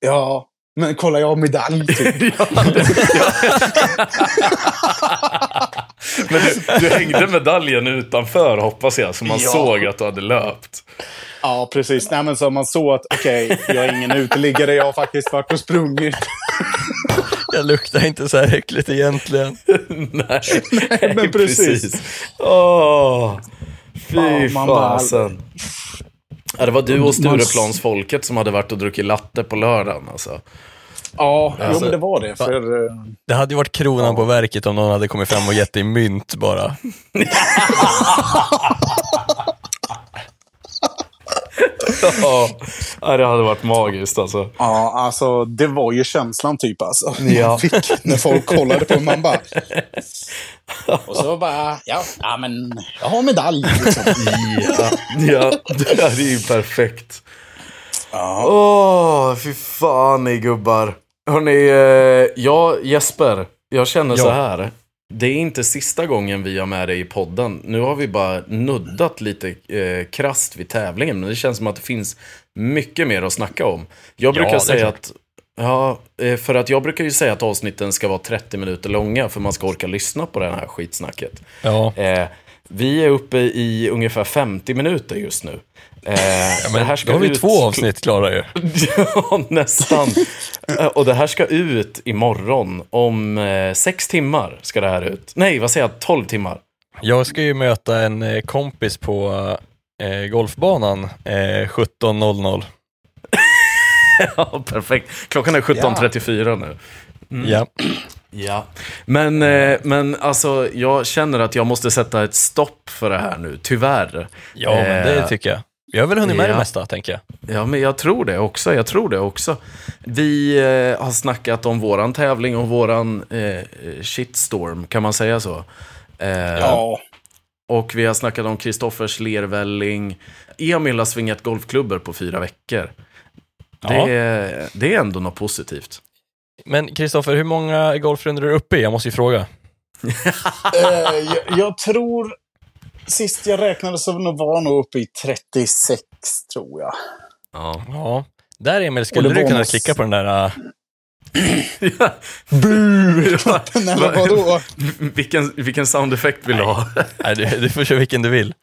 Speaker 2: Ja, men kolla jag har medalj typ.
Speaker 1: Ja, det- ja. Men du, du hängde medaljen utanför hoppas jag, så man
Speaker 2: Ja.
Speaker 1: såg att du hade löpt.
Speaker 2: ja, precis. Nej, men så man såg att okej, jag är ingen uteliggare. Jag har faktiskt varit och sprungit.
Speaker 3: Jag luktar inte så här äckligt egentligen.
Speaker 1: Nej,
Speaker 2: men
Speaker 1: nej, Åh, fy
Speaker 2: Ja, man bara-
Speaker 1: fasen. Ja, det var du och Stureplansfolket som hade varit och druckit latte på lördagen alltså.
Speaker 2: Ja, jo,
Speaker 3: Alltså,
Speaker 2: men det var det. För, eh,
Speaker 3: Det hade ju varit kronan på verket om någon hade kommit fram och gett dig mynt bara.
Speaker 1: Ja, nej, det hade varit magiskt alltså.
Speaker 2: ja, alltså det var ju känslan typ alltså.
Speaker 1: Ja.
Speaker 2: Man fick när folk kollade på en, Man bara... Och så bara, ja, ja men jag har medalj. Liksom.
Speaker 1: Ja, ja det här är ju perfekt.
Speaker 2: Ja.
Speaker 1: Åh, fy fan ni gubbar. Hörni, eh, ja, Jesper, jag känner
Speaker 3: Ja.
Speaker 1: så här. Det är inte sista gången vi har med dig i podden. Nu har vi bara nuddat lite eh, krast vid tävlingen. Men det känns som att det finns mycket mer att snacka om. Jag
Speaker 3: Ja,
Speaker 1: brukar
Speaker 3: det är
Speaker 1: säga
Speaker 3: klart.
Speaker 1: att... Ja, eh, för att jag brukar ju säga att avsnitten ska vara 30 minuter långa för man ska orka lyssna på det här skitsnacket.
Speaker 3: Ja,
Speaker 1: Eh, vi är uppe i ungefär 50 minuter just nu. Eh,
Speaker 3: men
Speaker 1: det här ska
Speaker 3: då har vi
Speaker 1: ut-
Speaker 3: två avsnitt klara ju.
Speaker 1: ja, nästan. Eh, Och det här ska ut imorgon. Om eh, sex timmar ska det här ut. Nej, vad säger jag? 12 timmar.
Speaker 3: Jag ska ju möta en eh, kompis på eh, golfbanan eh, 17.00.
Speaker 1: Ja, perfekt. Klockan är 17.34 nu.
Speaker 3: Ja.
Speaker 1: Ja. Men, eh, men alltså, jag känner att jag måste sätta ett stopp för det här nu, tyvärr.
Speaker 3: ja, men det
Speaker 1: Eh,
Speaker 3: tycker jag. Jag har väl hunnit med det
Speaker 1: ja.
Speaker 3: mesta, tänker jag.
Speaker 1: Ja, men jag tror det också. Jag tror det också. Vi eh, har snackat om våran tävling och våran eh, shitstorm, kan man säga så? Eh,
Speaker 2: ja.
Speaker 1: Och vi har snackat om Kristoffers lervälling. Emil har svingat golfklubbor på fyra veckor.
Speaker 3: Ja.
Speaker 1: Det, är, det är ändå något positivt.
Speaker 3: Men Kristoffer, hur många golfrundor är du uppe i? Jag måste ju fråga.
Speaker 2: Eh, jag, jag tror... Sist jag räknade så var jag nog uppe i 36, tror jag.
Speaker 1: Ja.
Speaker 3: Ja. Där Emil,
Speaker 2: Och
Speaker 3: skulle
Speaker 2: det
Speaker 3: du
Speaker 2: var
Speaker 3: kunna
Speaker 2: något-
Speaker 3: klicka på den där... eh,
Speaker 1: Bu!
Speaker 2: Nej, men vadå?
Speaker 1: vilken, vilken soundeffekt vill du ha?
Speaker 3: Nej, du, du får köra vilken du vill.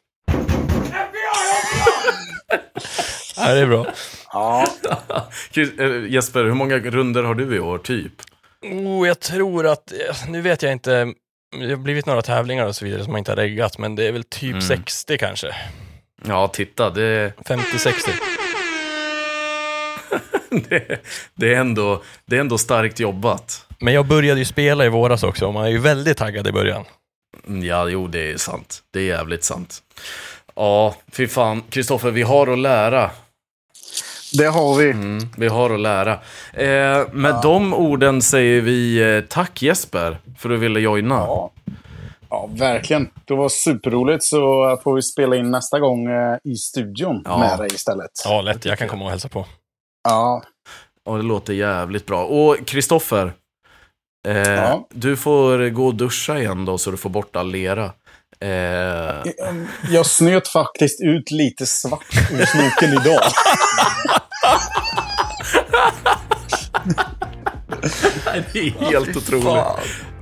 Speaker 3: Ja, det är bra.
Speaker 2: Ja,
Speaker 1: Chris- eh, Jesper, hur många runder har du i år, typ?
Speaker 3: Oh, jag tror att, eh, nu vet jag inte, det har blivit några tävlingar och så vidare som man inte har reggat, men det är väl typ 60 kanske.
Speaker 1: Ja, titta, det...
Speaker 3: 50-60.
Speaker 1: det, det, är ändå, det är ändå starkt jobbat.
Speaker 3: Men jag började ju spela i våras också och man är ju väldigt taggad i början.
Speaker 1: Mm, Ja, jo, det är sant. Det är jävligt sant. Ja, fy fan. Kristoffer, vi har att lära.
Speaker 2: det har vi.
Speaker 1: Mm, vi har att lära. Eh, med de orden säger vi eh, tack Jesper för att du ville joina.
Speaker 2: Ja. ja, verkligen. Det var superroligt, så får vi spela in nästa gång eh, i studion
Speaker 1: Ja.
Speaker 2: med dig istället. Ja.
Speaker 3: Ja, lätt. Jag kan komma och hälsa på.
Speaker 2: ja.
Speaker 1: Och det låter jävligt bra. Och Kristoffer, eh,
Speaker 2: Ja.
Speaker 1: du får gå och duscha igen då så du får bort all lera. Eh,
Speaker 2: Jag snöt faktiskt ut lite svart ur snoken idag.
Speaker 1: det är helt otroligt. Ja,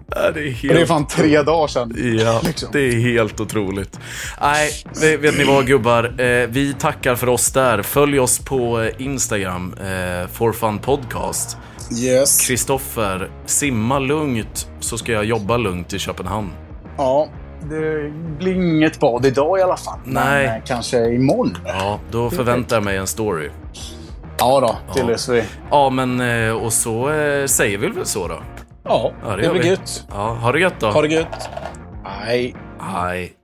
Speaker 1: Det är
Speaker 2: Det är
Speaker 1: helt...
Speaker 2: fan tre dagar sedan.
Speaker 1: Ja,
Speaker 2: liksom.
Speaker 1: det är helt otroligt. Nej, det- vet ni vad gubbar? Eh, vi tackar för oss där. Följ oss på eh, Instagram, eh, For Fun Podcast.
Speaker 2: Yes.
Speaker 1: Kristoffer, simma lugnt så ska jag jobba lugnt i Köpenhamn.
Speaker 2: Ja, det blir inget bad idag i alla fall.
Speaker 1: Nej.
Speaker 2: Men eh, kanske imorgon.
Speaker 1: Ja, då förväntar jag mig en story.
Speaker 2: Ja då, det löser vi.
Speaker 1: Ja, men eh, och så eh, säger vi väl så då.
Speaker 2: Ja,
Speaker 1: Ja, det
Speaker 2: det
Speaker 1: gör
Speaker 2: blir
Speaker 1: vi.
Speaker 2: gött.
Speaker 1: Ja, ha det gött då.
Speaker 2: Ha det gött. Hej.
Speaker 1: Hej.